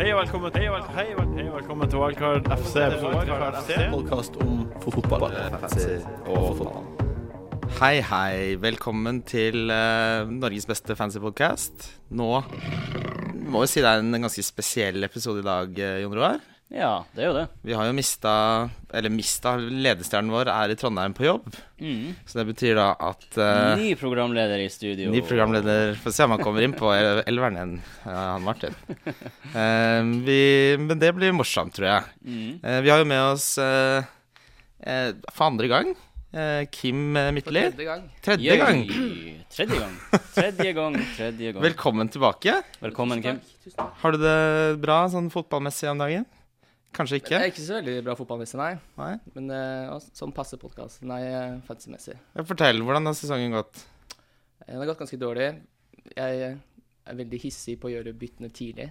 Hei og velkommen, hei og velkommen, hei og velkommen, hei og velkommen til Wildcard FC. Wildcard FC. podkast om fotball. Hei, hei. Velkommen til eh, Norges beste fancypodcast. Nå må vi si det er en ganske spesiell episode i dag, eh, Jon Roar. Ja, det er jo det. Vi har jo mista, eller mista, ledestjernen vår er i Trondheim på jobb. Så det betyr da at eh, Ny programleder i studio. ny programleder Få se om han kommer inn på elveren igjen, eh, han Martin. Eh, vi, men det blir morsomt, tror jeg. Mm. Eh, vi har jo med oss eh, eh, for andre gang eh, Kim eh, Midtly. Tredje Jøy. gang. Tredje gang. Tredje gang, tredje gang. Velkommen tilbake. Velkommen, Kim. Har du det bra sånn fotballmessig om dagen? Kanskje ikke? Jeg er ikke så veldig bra fotballmessig, nei. Nei? Men eh, også sånn passe podkast. Nei, eh, fantasy-messig. Fortell, hvordan har sesongen gått? Eh, Den har gått ganske dårlig. Jeg eh, er veldig hissig på å gjøre byttene tidlig.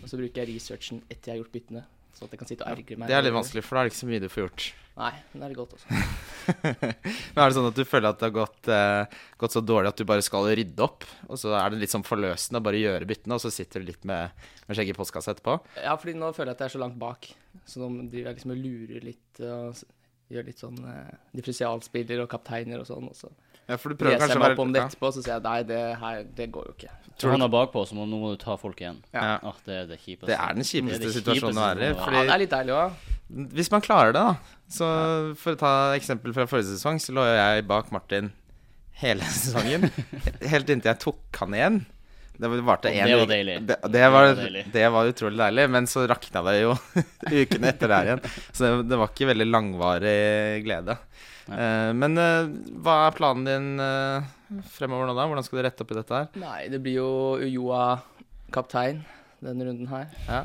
Og så bruker jeg researchen etter jeg har gjort byttene, sånn at jeg kan sitte og ergre meg. Det er litt vanskelig, for da er det ikke så mye du får gjort. Nei, men det er godt også. Men er det sånn at du føler at det har gått, eh, gått så dårlig at du bare skal rydde opp, og så er det litt sånn forløsende å bare gjøre byttene, og så sitter du litt med, med skjegget i postkassa etterpå? Ja, fordi nå føler jeg at jeg er så langt bak, så nå driver jeg liksom og lurer litt. og s- Gjør litt sånn eh, differensialspiller og kapteiner og sånn. Og så Ja, for du prøver leser jeg kanskje å meg være opp om det etterpå, så sier jeg nei, det her, det går jo ikke. Du havna bakpå, så må, nå må du ta folk igjen. Ja. Åh, det er det kjipeste. Det er den kjipeste Det er det situasjonen å være i, kjipeste som fordi- Ja, det er litt deilig òg. Hvis man klarer det, da. Så for å ta eksempel fra forrige sesong, så lå jo jeg bak Martin hele sesongen. Helt inntil jeg tok han igjen. Det var- varte Og en det var uke. deilig. Det, det, var, Det var deilig. det var utrolig deilig. Men så rakna det jo ukene etter der igjen. Så det, det var ikke veldig langvarig glede. Eh, men eh, hva er planen din eh, fremover nå, da? Hvordan skal du rette opp i dette her? Nei, det blir jo Ujoa kaptein denne runden her. Ja.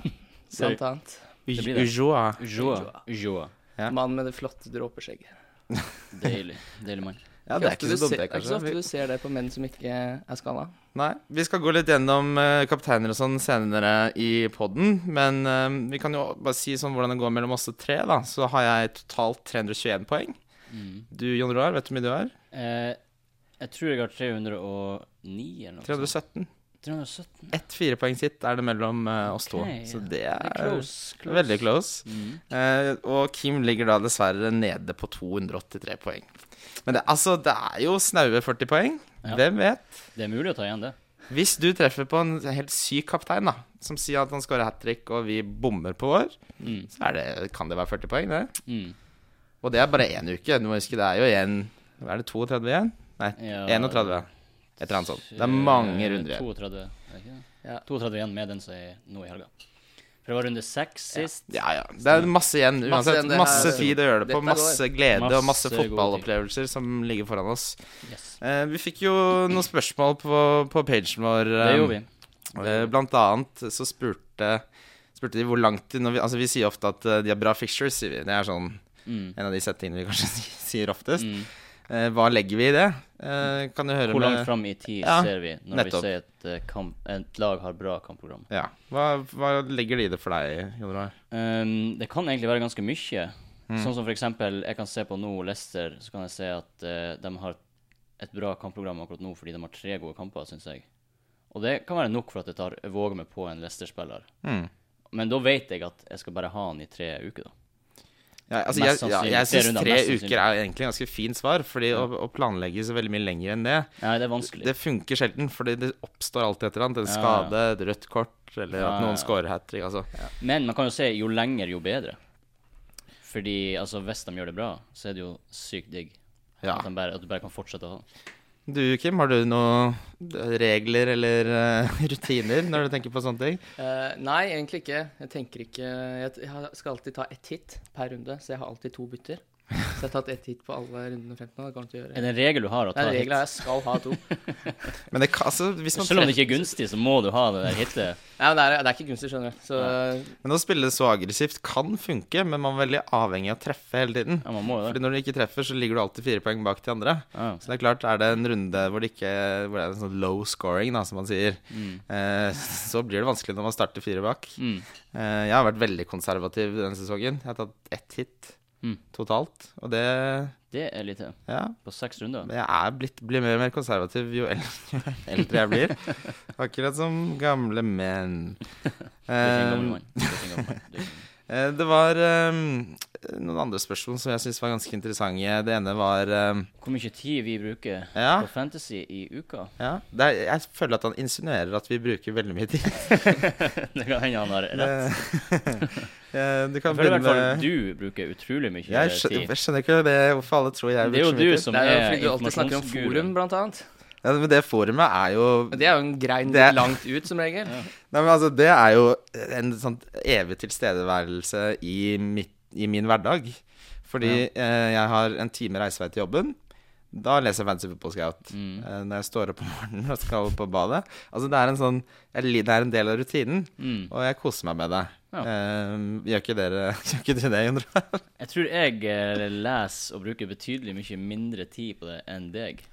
Blant annet. Det blir det. Ujoa. Joa. Joa. Ja. Mann med det flotte dråpeskjegget. Deilig. Deilig mann. Ja, det er ikke så ofte du dumt, det, ser- ikke så kanskje. ofte du ser det på menn som ikke er skalla. Nei, vi skal gå litt gjennom eh, kapteiner og sånn senere i podden, men eh, vi kan jo bare si sånn hvordan det går mellom oss og tre, da. Så har jeg totalt 321 poeng. Du, Jon Roar, vet du hvor mye du har? Mm. Eh, jeg tror jeg har 309 eller noe. sånt. 317. 317. Ett firepoengs hit er det mellom eh, oss to, Ok, så ja. det Det er, er close, Mm. close. veldig close. Eh, og Kim ligger da dessverre nede på 283 poeng. Men det, altså, det er jo snaue 40 poeng. Ja. Hvem vet? Det er mulig å ta igjen det. Hvis du treffer på en helt syk kaptein da som sier at han scorer hat trick og vi bommer på vår, Mm. så er det, kan det være 40 poeng, det. Mm. Og det er bare én uke. Du må huske det er jo en Hva er det, 32 igjen? Nei, Ja. 31. Et eller annet sånt. Det er mange Eh, runder igjen. 32, er det ikke det? Ja. 32 igjen med den som er nå i helga. For det var runde seks sist. Ja, ja. Det er masse igjen Masse uansett. igjen, det her- Masse tid å gjøre det på. Dette går. Masse glede og masse Masse gode fotballopplevelser som ligger foran oss. Yes. Eh, vi fikk jo noen spørsmål på, på pagen vår. Det eh, gjorde vi. Eh, Blant annet så spurte, spurte de hvor langt de når vi, Altså vi sier ofte at eh, de har bra fixtures, sier vi. Det er sånn Mm. en av de settingene vi kanskje sier oftest. Mm. Eh, Hva legger vi i det? Eh, Kan du høre Hvor langt med fram i tid Ja, ser vi når nettopp. vi ser at eh, kamp, et lag har bra kampprogram? Ja. Hva, hva legger de i det for deg, Jon Roar? Ehm, det kan egentlig være ganske mye. Mm. Sånn som for eksempel, jeg kan se på nå Leicester, så kan jeg se at eh, de har et bra kampprogram akkurat nå fordi de har tre gode kamper, syns jeg. Og det kan være nok for at jeg tar, jeg våger meg på en Leicester-spiller. Mm. Men da vet jeg at jeg skal bare ha han i tre uker, da. Ja, altså, jeg Mest ja, sannsynlig. jeg Tre syns runder, tre mest uker er egentlig et ganske fint svar, fordi å, å planlegge så veldig mye lenger enn det Nei, det er vanskelig. Det funker sjelden, fordi det oppstår alltid et eller annet. En Ja, ja. skade, et rødt kort, eller Ja, at ja, ja. noen scorer hat trick. Altså. Men man kan jo se jo lenger, jo bedre. Fordi altså, hvis de gjør det bra, så er det jo sykt digg. Ja. At, de bare, at du bare kan fortsette å ha han. Du, Kim, har du noen regler eller eh, rutiner når du tenker på sånne ting? Eh, nei, egentlig ikke. Jeg tenker ikke Jeg t- jeg har- skal alltid ta ett hit per runde, så jeg har alltid to bytter. Så jeg har tatt ett hit på alle rundene 15 nå. Det går an til å gjøre. Er det en regel du har å Det ta er hit? regler jeg skal ha to. Men det kan, altså, hvis man Selv om det ikke er gunstig, så må du ha det der hitet. Nei, men det er, det er ikke gunstig, skjønner du. Så treffer- Men å spille så aggressivt kan funke, men man er veldig avhengig av å treffe hele tiden. Ja, man må jo Fordi det. når du ikke treffer, så ligger du alltid fire poeng bak de andre. Ja. Så det er klart, er det en runde hvor det ikke hvor det er en sånn low scoring, da, som man sier, eh, så blir det vanskelig når man starter fire bak. Mm. Eh, jeg har vært veldig konservativ denne sesongen. Jeg har tatt ett hit Mm. totalt, og det Det er lite. Ja, På seks runder. Men jeg er blitt, blir mer og mer konservativ jo el- jo eldre jeg blir. Akkurat som gamle menn. er ikke en gammel Eh, mann. Du er ikke en gammel mann. Du er ikke- Eh, Det var eh, noen andre spørsmål som jeg syns var ganske interessante. Det ene var eh, Hvor mye tid vi bruker Ja. på fantasy i uka? ja, det er, Jeg føler at han insinuerer at vi bruker veldig mye tid. Det kan hende han har rett. Eh, du Jeg kan føler i begynne hvert fall med du bruker utrolig mye jeg skjønner, tid. jeg skjønner ikke det, hvorfor alle tror jeg Det er jo bruker så mye du tid. som Det er jo er fordi du alltid snakker om forum, informasjonsguruen. blant annet. Ja, men det forumet er jo Men det er jo en grein Det er- langt ut, som regel. Nei, men altså, det er jo en sånn evig tilstedeværelse i, mitt, i min hverdag. Fordi eh, jeg har en time reisevei til jobben. Da leser jeg Fantasy Football Scout. Mm. Eh, når jeg står opp om morgenen og skal på badet. Altså, det er en sånn jeg, li- Det er en del av rutinen, Mm. og jeg koser meg med det. Ja. Eh, gjør ikke dere Gjør ikke dere det, Jondra? Jeg tror jeg eh, leser og bruker betydelig mye mindre tid på det enn deg.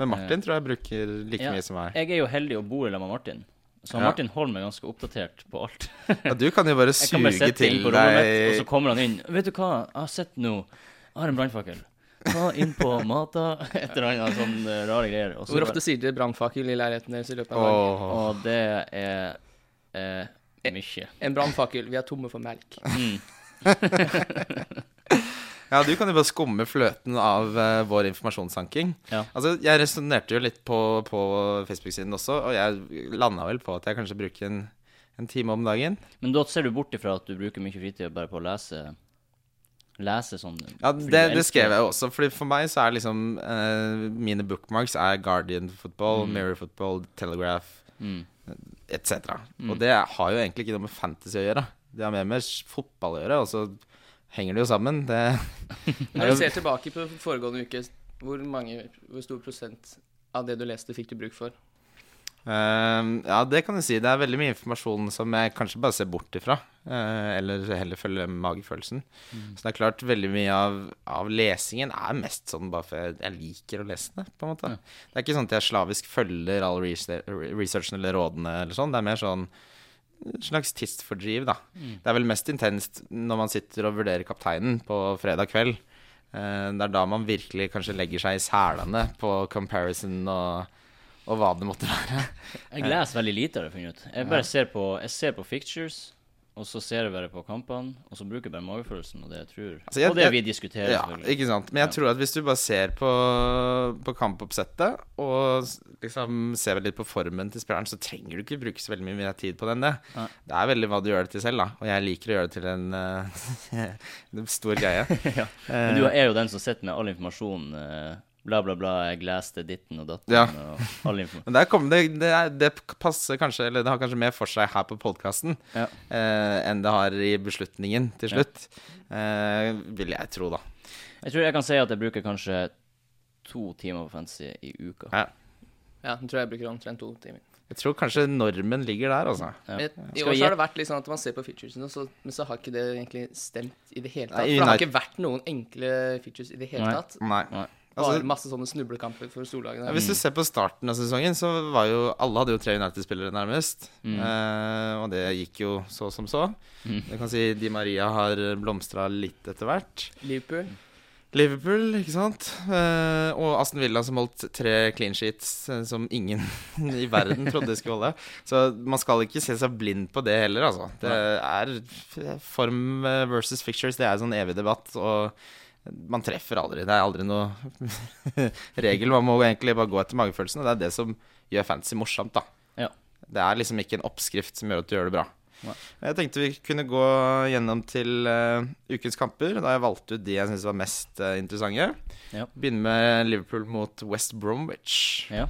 Men Martin tror jeg bruker like Ja, mye som meg. Jeg er jo heldig og bor sammen med Martin, så han Ja. Martin holder meg ganske oppdatert på alt. Ja, du kan jo bare Jeg kan bare suge sette inn til på rommet mitt, og så deg kommer han inn. 'Vet du hva, jeg har sett nå Jeg har en brannfakkel.' Ta inn på mata Et eller annet sånn eh, rare greier. Og så Hvor bare- ofte sier dere brannfakkel i leiligheten deres i løpet av en dag? Åh. Og det er eh, mye. Mm. En brannfakkel. Vi er tomme for melk. Ja, du kan jo bare skumme fløten av eh, vår informasjonsanking. Ja. Altså, jeg resonnerte jo litt på, på Facebook-siden også, og jeg landa vel på at jeg kanskje bruker en, en time om dagen. Men da ser du bort ifra at du bruker mye fritid bare på å lese Lese sånn Ja, fordi det, du det skrev elsker jeg jo også, fordi for meg så er liksom eh, Mine bookmarks er Guardian Football, Mirror Football, Telegraph Mm. etc. Og det har jo egentlig ikke noe med fantasy å gjøre. Det har mer med fotball å gjøre, og så henger det jo sammen. Det Når du ser tilbake på foregående uke, hvor, mange, hvor stor prosent av det du leste, fikk du bruk for? Ehm, ja, det kan du si. Det er veldig mye informasjon som jeg kanskje bare ser bort ifra. eh, eller heller følger magefølelsen. Så det er klart, veldig mye av, av lesingen er mest sånn bare for jeg, jeg liker å lese det, på en måte. Det er ikke sånn at jeg slavisk følger all rese- re- researchen eller rådene eller sånn. Det er mer sånn en slags tidsfordriv, da. Det er vel mest intenst når man sitter og vurderer kapteinen på fredag kveld. Eh, det er da man virkelig kanskje legger seg i selene på comparison og, og hva det måtte være. Jeg leser veldig lite, har jeg funnet ut. Jeg bare ser på, jeg ser på fictures, og så ser jeg bare på kampene, og så bruker jeg bare magefølelsen og det jeg tror. Altså, jeg- og det jeg- vi diskuterer, Ja, selvfølgelig. ikke sant. Men jeg Ja. tror at hvis du bare ser på, på kampoppsettet, og s- liksom ser litt på formen til spilleren, så trenger du ikke bruke så veldig mye mer tid på den. Det Nei. Det er veldig hva du gjør det til selv, da. Og jeg liker å gjøre det til en, eh, en stor greie. Ja. Men du er jo den som sitter med all informasjonen. eh, Bla, bla, bla, jeg leste ditten og datten Ja. og all informasjon. Men der kom det, det, er- det passer kanskje, eller det har kanskje mer for seg her på podkasten Ja. eh, enn det har i beslutningen til slutt. Eh, vil jeg tro, da. Jeg tror jeg kan si at jeg bruker kanskje to timer på fantasy i uka. Ja, nå tror jeg jeg bruker omtrent to timer. Jeg tror kanskje normen ligger der, altså. Ja. Men I Skal år vi så har det vært litt sånn at man ser på featuresene, så, men så har ikke det egentlig stemt i det hele tatt. Nei, i For det har ikke vært noen enkle features i det hele Nei. Altså- tatt. Nei. Altså, Nei. Bare masse sånne snublekamper for Ja, storlagene. hvis du ser på starten av sesongen, så var jo alle hadde jo tre United-spillere nærmest. Eh, og det gikk jo så som så. Jeg kan si Di Maria har blomstra litt etter hvert. Liverpool. Liverpool, ikke sant. Eh, og Aston Villa som holdt tre clean sheets eh, som ingen i verden trodde de skulle holde. Så man skal ikke se seg blind på det heller, altså. Det er f- form eh, versus fictures, det er en sånn evig debatt. og man treffer aldri. Det er aldri noe regel. Man må egentlig bare gå etter magefølelsen, og det er det som gjør fantasy morsomt, da. Ja. Det er liksom ikke en oppskrift som gjør at du gjør det bra. Nei. Jeg tenkte vi kunne gå gjennom til eh, ukens kamper. Da har jeg valgt ut de jeg syns var mest eh, interessante. Ja. Begynner med Liverpool mot West Bromwich. Ja.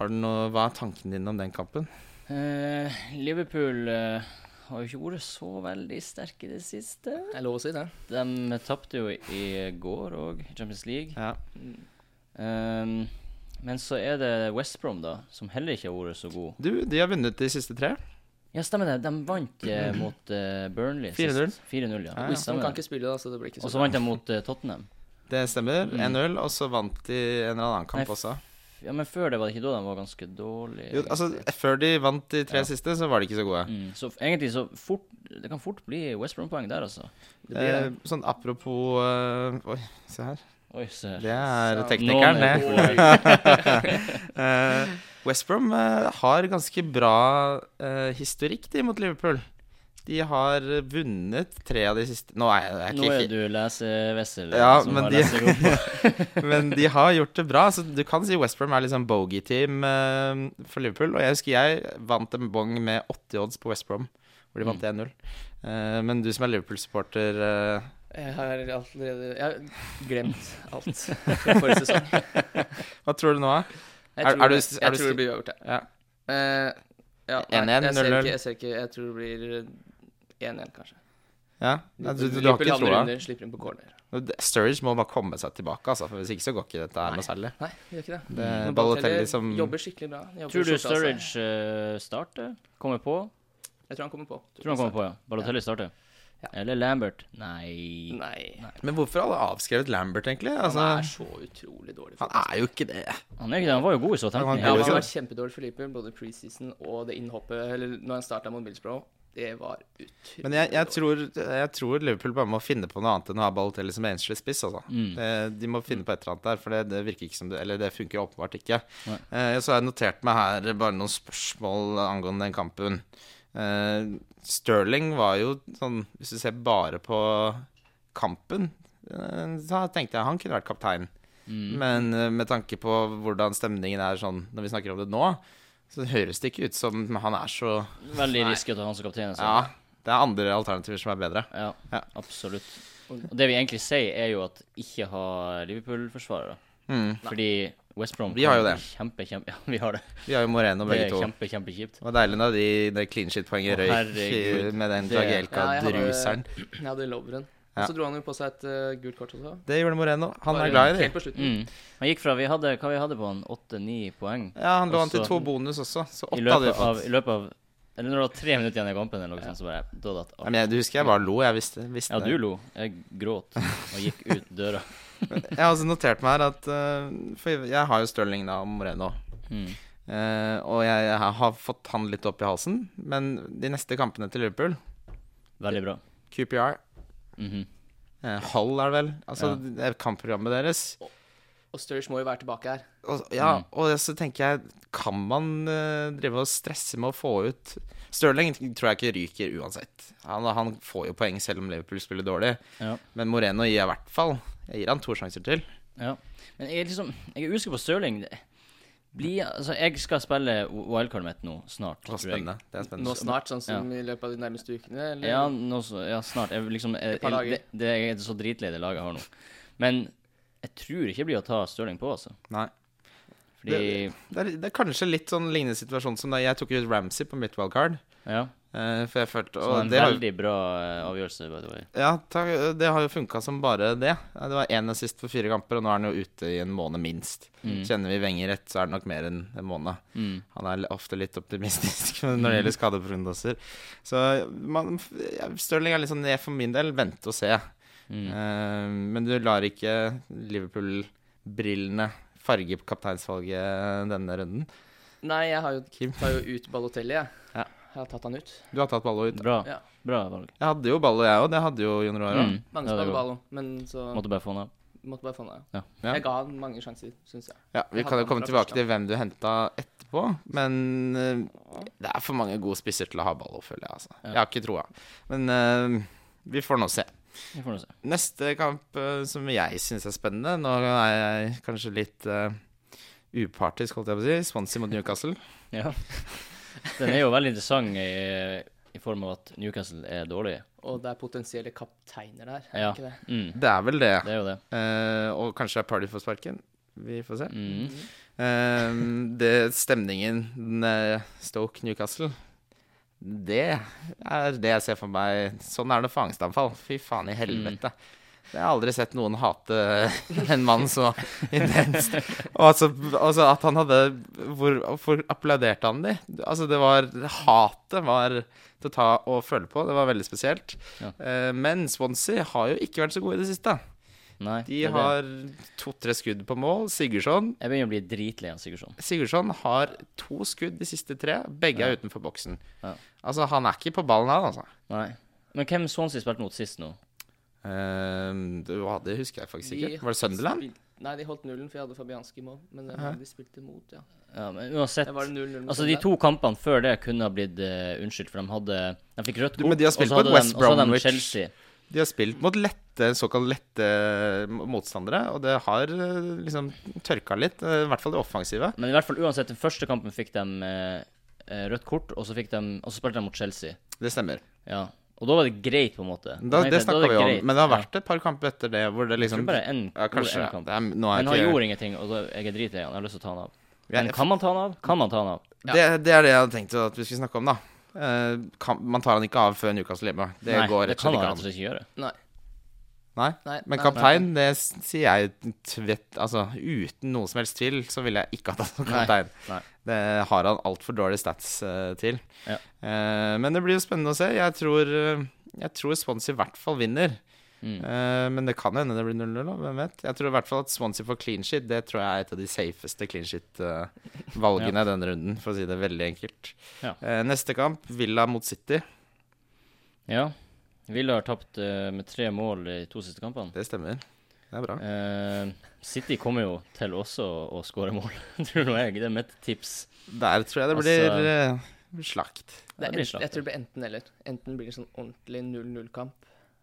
Har du noe, hva er tanken din om den kampen? Eh, Liverpool eh, har jo ikke vært så veldig sterke i det siste. Det er lov å si det. De tapte jo i går òg, Champions League. Ja. Ehm, men så er det West Brom, da, som heller ikke har vært så god. Du, de har vunnet de siste tre. Ja, stemmer det. De vant eh, mot eh, Burnley. sist. 4-0. 4-0, ja. Ja, ja. Man Stemmer kan det. ikke spille da, så det blir ikke Og så så bra. vant de mot eh, Tottenham. Det stemmer. 1-0, og så vant de en eller annen kamp Mm. Nei, også. Ja, Men før det var det ikke da de var ganske dårlige. Jo, altså, før de vant de tre eh, Ja. siste, så var de ikke så gode. Mm, så f- egentlig så fort Det kan fort bli West Brom-poeng der, altså. Det blir det. Eh, sånn apropos eh, Oi, se her. Oi, se her. Det er Så- teknikeren, Nå er det. det Eh, West Brom eh, har ganske bra eh, historikk de mot Liverpool. De har vunnet tre av de siste Nå er jeg, jeg er Nå ikke, er du lesevessel Ja, som men har de- lesegod på. Men de har gjort det bra. Så du kan si West Brom er liksom bogey-team eh, for Liverpool. Og jeg husker jeg vant en bong med 80 odds på West Brom, hvor de vant 1-0. Mm. Eh, men du som er Liverpool-supporter eh, Jeg har allerede Jeg har glemt alt fra forrige sesong. Hva tror du nå, da? Jeg Er- tror, er du- det- er jeg du tror sti- det blir uavgjort, jeg. Ja. Eh, ja, 1-1, nei, jeg ser 0-0. ikke, jeg ser ikke. Jeg tror det blir 1-1, kanskje. Ja? Nei, Du, du, du har ikke Liverpool troa? andre runder, slipper inn på corner. Sturridge må bare komme seg tilbake, altså, for hvis ikke så går ikke dette her noe særlig. Nei, det gjør ikke det. Det er Men Balotelli som jobber skikkelig bra. Han jobber altså. Tror du skjorta av seg. altså. Sturridge eh, starter? Kommer på? Jeg tror han kommer på. Tror han kommer på, ja. Balotelli starter. Ja. Eller Lambert. Nei Nei. Men hvorfor har alle avskrevet Lambert, egentlig? Han Altså, er så utrolig dårlig. han fotball. er jo ikke det. Han er ikke det. Han var jo god i Southampton. Ja, god men i Ja, han Liverpool. var kjempedårlig for Liverpool, både preseason og det innhoppet Eller når han starta mot Millsbrough. Det var utrolig Men jeg, jeg, dårlig. tror, jeg tror Liverpool bare må finne på noe annet enn å ha Balotelli som enslig spiss. Altså. Mm. Det- De må finne på et eller annet der, for det, det virker ikke som det Eller det funker jo åpenbart ikke. Nei. Eh, så har jeg notert meg her bare noen spørsmål angående den kampen. Eh, Sterling var jo sånn Hvis du ser bare på kampen, eh, da tenkte jeg han kunne vært kaptein. Mm. Men eh, med tanke på hvordan stemningen er sånn når vi snakker om det nå, så høres det ikke ut som han er så Veldig risky å ta han som kaptein. altså. Ja, det er andre alternativer som er bedre. Ja, Ja. absolutt. Og det vi egentlig sier, er jo at ikke ha Liverpool-forsvarere. Mm. Fordi West Brom Vi har jo kan det. Kjempe, kjempe, ja, vi har det. Vi har jo Moreno Det begge er to. kjempe, kjempekjipt. Det var deilig da de, det clean shit-poenget Å, røyk herregud. i- med den Det- Ja, jeg hadde- Jagielka-druseren. Jeg hadde Lovren. Ja. Og så dro han jo på seg et eh, gult kort også. Det gjorde Moreno. Han Bare er glad i Helt det. på slutten. Mm. Han gikk fra vi hadde, Hva vi hadde på han? Åtte-ni poeng? Ja, han lå an til Også- to bonus også, så I åtte hadde vi løpet av, fått. i løpet av Eller når det var tre minutter igjen i kampen, eller noe sånt, så bare Da datt Nei, alt. men jeg, du husker jeg bare lo. Jeg visste, visste Ja, du det. lo. Jeg gråt og gikk ut døra. Jeg har også notert meg her at eh, For jeg- jeg har jo Stirling da og Moreno. Mm. Eh, og jeg, jeg har fått han litt opp i halsen. Men de neste kampene til Liverpool, Veldig bra. QPR, Mhm. eh, Hull er det vel Altså det er kampprogrammet deres. Mm. Og Sturridge må jo være tilbake her. Og, ja, og så tenker jeg Kan man eh, drive og stresse med å få ut Stirling tror jeg ikke ryker uansett. Han, han får jo poeng selv om Liverpool spiller dårlig. Ja. Men Moreno gir jeg i hvert fall. Jeg gir han to sjanser til. Ja. Men jeg er liksom Jeg er usikker på Stirling. Det- Bli, altså, jeg skal spille wildcardet mitt nå, snart. Det er tror jeg. spennende. Det er spennende. Nå snart, sånn som i løpet av de nærmeste ukene. Eller? Ja, nå, så- ja snart. Jeg, liksom, jeg, Et par jeg, dager. det, det jeg er så dritlei det laget jeg har nå. Men jeg tror ikke jeg blir å ta Stirling på, altså. Nei. Fordi Det er, det er kanskje litt sånn lignende situasjon som da jeg tok ut Ramsey på mitt wildcard. Ja. eh, for jeg følte Så det er Og en det har, veldig bra eh, avgjørelse, by the way. ja, ta- det har jo funka som bare det. Ja, Det var én assist på fire kamper, og nå er han jo ute i en måned minst. Kjenner vi Wenger rett, så er det nok mer enn en måned. Mm. Han er ofte litt optimistisk når det gjelder skadeprognoser. Så man, ja, Stirling er litt sånn jeg for min del vente og se. Mm. Mm. Eh, men du lar ikke Liverpool-brillene farge kapteinsvalget denne runden. Nei, jeg har jo, Kim. tar jo ut Balotelli, jeg. Ja. Jeg har tatt han ut. Du har tatt Ballo ut. Bra. Ja. Bra valg. Jeg hadde jo Ballo, jeg òg. Det hadde jo Jon Roar òg. Mm. Mange Ja, som det er hadde godt. Balo, men så måtte, Måtte bare få den av. bare få han av. Ja. Ja. Jeg ga han mange sjanser, syns jeg. Ja, vi Jeg kan hadde jo komme han fra tilbake første til hvem du henta etterpå, men eh, det er for mange gode spisser til å ha Ballo, føler jeg. Altså. Jeg har ikke troa. Men eh, vi får nå se. Vi får nå se. Neste kamp eh, som jeg syns er spennende Nå er jeg kanskje litt eh, upartisk, holdt jeg på å si. Swansea mot Newcastle. Ja. Den er jo veldig interessant i, i form av at Newcastle er dårlig. Og det er potensielle kapteiner der, er det Ja. ikke det? Mm. Det er vel det. Det er jo det. Eh, og kanskje er Party for sparken. Vi får se. Mm. Eh, det, stemningen den, eh, Stoke-Newcastle Det er det jeg ser for meg. Sånn er det for angstanfall. Fy faen Mm. i helvete. Jeg har aldri sett noen hate en mann så intenst. Og altså, altså at han hadde Hvor, hvor applauderte han de? Altså det var Hatet var til å ta og føle på. Det var veldig spesielt. Ja. Eh, men Swansea har jo ikke vært så gode i det siste. Nei. De det er det. har to-tre skudd på mål. Sigurdsson Jeg begynner å bli dritlei av Sigurdsson. Sigurdsson har to skudd de siste tre. Begge er utenfor boksen. Ja. Altså, han er ikke på ballen, han, altså. Nei. Men hvem Swansea spilte mot sist nå? Eh, det var- det husker jeg faktisk De ikke. Var det Sunderland? spil- Nei, de holdt nullen, for jeg hadde Fabianski i mål. Men eh, de spilte mot, ja. Ja, men uansett Det var 0-0 mot Altså, de Sunderland. to kampene før det kunne ha blitt eh, unnskyldt, for de hadde De fikk rødt Du, kort, men de har og så spilt på hadde et de- West og så hadde de Bromwich. Chelsea. De har spilt mot lette, såkalt lette motstandere, og det har eh, liksom tørka litt. eh, I hvert fall det offensive. Men i hvert fall uansett, den første kampen fikk de eh, eh, rødt kort, og så, fikk de, og så spilte de mot Chelsea. Det stemmer. Ja. Og da var det greit, på en måte. Da, tenkte det jeg, da er snakka vi om. greit. Men det har Ja. vært et par kamper etter det hvor det Jeg liksom tror bare en, ja, kanskje, en ja, kamp. det er, nå er Men han ikke, gjorde ingenting, og da, jeg er dritlei han. Jeg har lyst til å ta han av. Ja, Men jeg- kan man ta han av? Kan man ta han av? det, det er det jeg hadde tenkt at vi skulle snakke om, da. Eh, kan, man tar han ikke av før Newcastle hjemme. Det Nei, går rett det og slett kan han ikke an. rett og slett ikke gjøre. Nei. Nei. Nei, Men nei, kaptein, det s- sier jeg tvett Altså uten noen som helst tvil, så ville jeg ikke hatt han som Nei, kaptein. nei. Det har han altfor dårlige stats eh, til. Ja. Eh, men det blir jo spennende å se. Jeg tror, eh, jeg tror Swansea i hvert fall vinner. Mm. Eh, men det kan hende det blir 0-0, da, hvem vet. Jeg tror i hvert fall at Swansea får clean shit. Det tror jeg er et av de safeste clean shit-valgene i denne runden, for å si det veldig enkelt. Ja. Eh, neste kamp, Villa mot City. Ja. Villa har tapt eh, med tre mål i to siste kampene. Det stemmer. Det er bra. Eh, City kommer jo til også å skåre mål, tror nå jeg. Det er mitt tips. Der tror jeg det blir Altså- eh, slakt. Det Det er blir enten, jeg slakt. tror det blir enten eller. Enten blir det sånn ordentlig 0-0-kamp,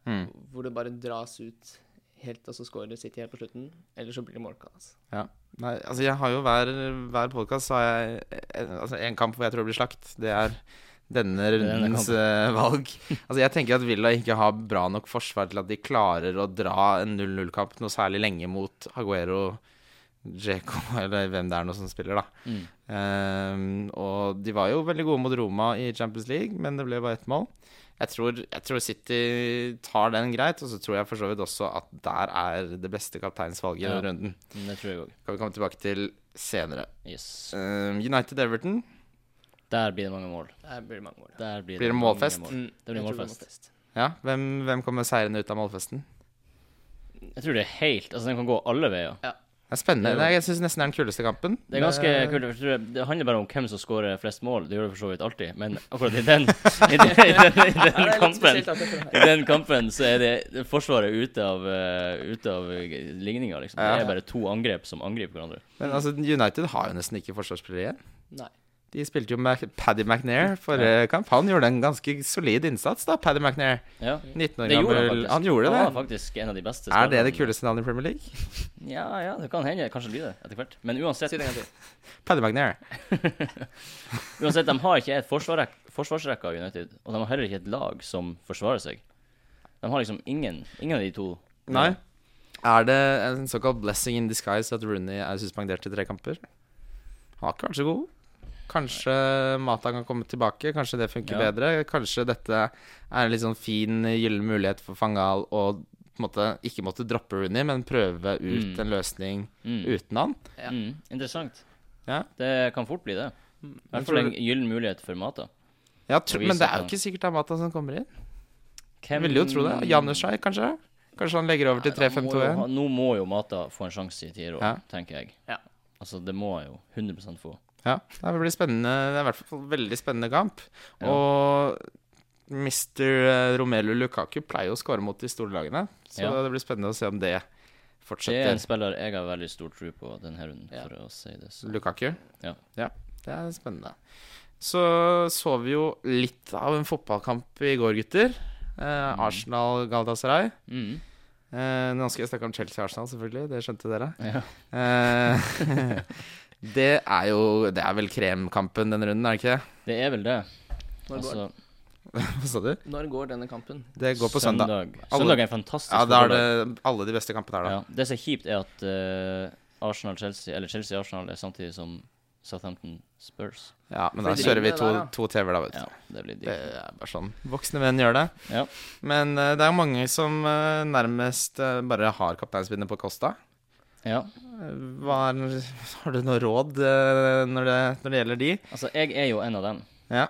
Mm. hvor det bare dras ut helt, og så scorer City helt på slutten. Eller så blir det målkast. Ja. Nei, altså jeg har jo hver, hver podkast har jeg en, altså en kamp hvor jeg tror det blir slakt. Det er denne denne rundens eh, valg. Altså jeg tenker at Villa ikke har bra nok forsvar til at de klarer å dra en 0-0-kamp noe særlig lenge mot Aguero, Djeko eller hvem det er nå som spiller, da. Mm. Ehm, og de var jo veldig gode mot Roma i Champions League, men det ble bare ett mål. Jeg tror, jeg tror City tar den greit, og så tror jeg for så vidt også at der er det beste kapteinsvalget i Ja. denne runden Men Det tror jeg òg. kan vi komme tilbake til senere. Yes. Eh, United Everton. Der blir det mange mål. Der blir det mange mål. Der blir, Blir det mange målfest? mål. Mm, Det blir jeg tror målfest. Ja, hvem, hvem kommer seirende ut av målfesten? Jeg tror det er helt Altså, den kan gå alle veier. Det er spennende. Det er jo- Det er, jeg syns nesten det er den kuleste kampen. Det er ganske Eh, kult. for Jeg tror det- det handler bare om hvem som skårer flest mål. Det gjør det for så vidt alltid, men akkurat i den, i den, i den, i Ja, det den er litt kampen spesielt at det er sånn I her. den kampen så er det Forsvaret ute av, eh, ute av eh, ligninga, liksom. Ja. Det er bare to angrep som angriper hverandre. Men altså, United har jo nesten ikke forsvarsspillere igjen. Nei. De spilte jo Mac Paddy McNair forrige kamp. Han gjorde en ganske solid innsats, da, Paddy McNair. Ja. 19 år Det gjorde han gammel. faktisk. Han gjorde Han det. var faktisk en av de beste Er det det spillerne. kuleste navnet i Premier League? Ja, ja, det kan hende. Kanskje det blir det etter hvert. Men uansett, Si det en gang til. Paddy McNair. uansett de har ikke et forsvarek, forsvarsrekke av United, og de har heller ikke et lag som forsvarer seg. De har liksom ingen, ingen av de to. Nei. Er det en såkalt blessing in disguise at Rooney er suspendert i tre kamper? Han har ikke vært så god. Kanskje Mata kan komme tilbake, kanskje det funker Ja. bedre. Kanskje dette er en litt sånn fin, gyllen mulighet for Fangal å på en måte ikke måtte droppe Rooney, men prøve ut Mm. en løsning Mm. uten han. Ja. Mm. Interessant. Ja. Det kan fort bli det. I Men hvert fall tror en gyllen mulighet for Mata. Ja, tro, Og vi men det setter er han. jo ikke sikkert det er Mata som kommer inn. Hvem Jeg ville jo tro det. Janushai, kanskje? Kanskje han legger over til Nei, da må jo 3-5-2-1? ha- Nå må jo Mata få en sjanse i Tiro, Ja. tenker jeg. Ja. Altså, det må han jo 100 få. Ja, det blir spennende. Det er i hvert fall veldig spennende kamp. Og Mr. Romelu Lukaku pleier jo å skåre mot de store lagene, så Ja. det blir spennende å se om det Det er en fortsetter. spiller jeg har veldig stor tro på denne runden, Ja. for å si det sånn. Lukaku. Ja. det er spennende. Så så vi jo litt av en fotballkamp i går, gutter. Eh, Arsenal Galatasaray. Mm. Eh, nå skal jeg snakke om Chelsea-Arsenal, selvfølgelig. Det skjønte dere. Ja. Eh, det er jo Det er vel kremkampen denne runden, er det ikke det? Det er vel det. Når går, Altså, Hva sa du? når går denne kampen? Det går på søndag. Alle- Søndag er en fantastisk Ja, da er fotballdag. det alle de beste kampene her, da. Ja, det som er kjipt, er at eh, Arsenal-Chelsea Eller Chelsea-Arsenal er samtidig som Southampton Spurs. Ja, Men da Fordi kjører vi det to, der, da. to TV-er, da, vet du. Ja, det blir Det digg. er bare sånn. Voksne menn gjør det. Ja. Men eh, det er jo mange som eh, nærmest eh, bare har kapteinsbindet på Costa. Ja. Eh, Hva er, har du noe råd eh, når, det, når det gjelder de? Altså, jeg er jo en av dem, Ja.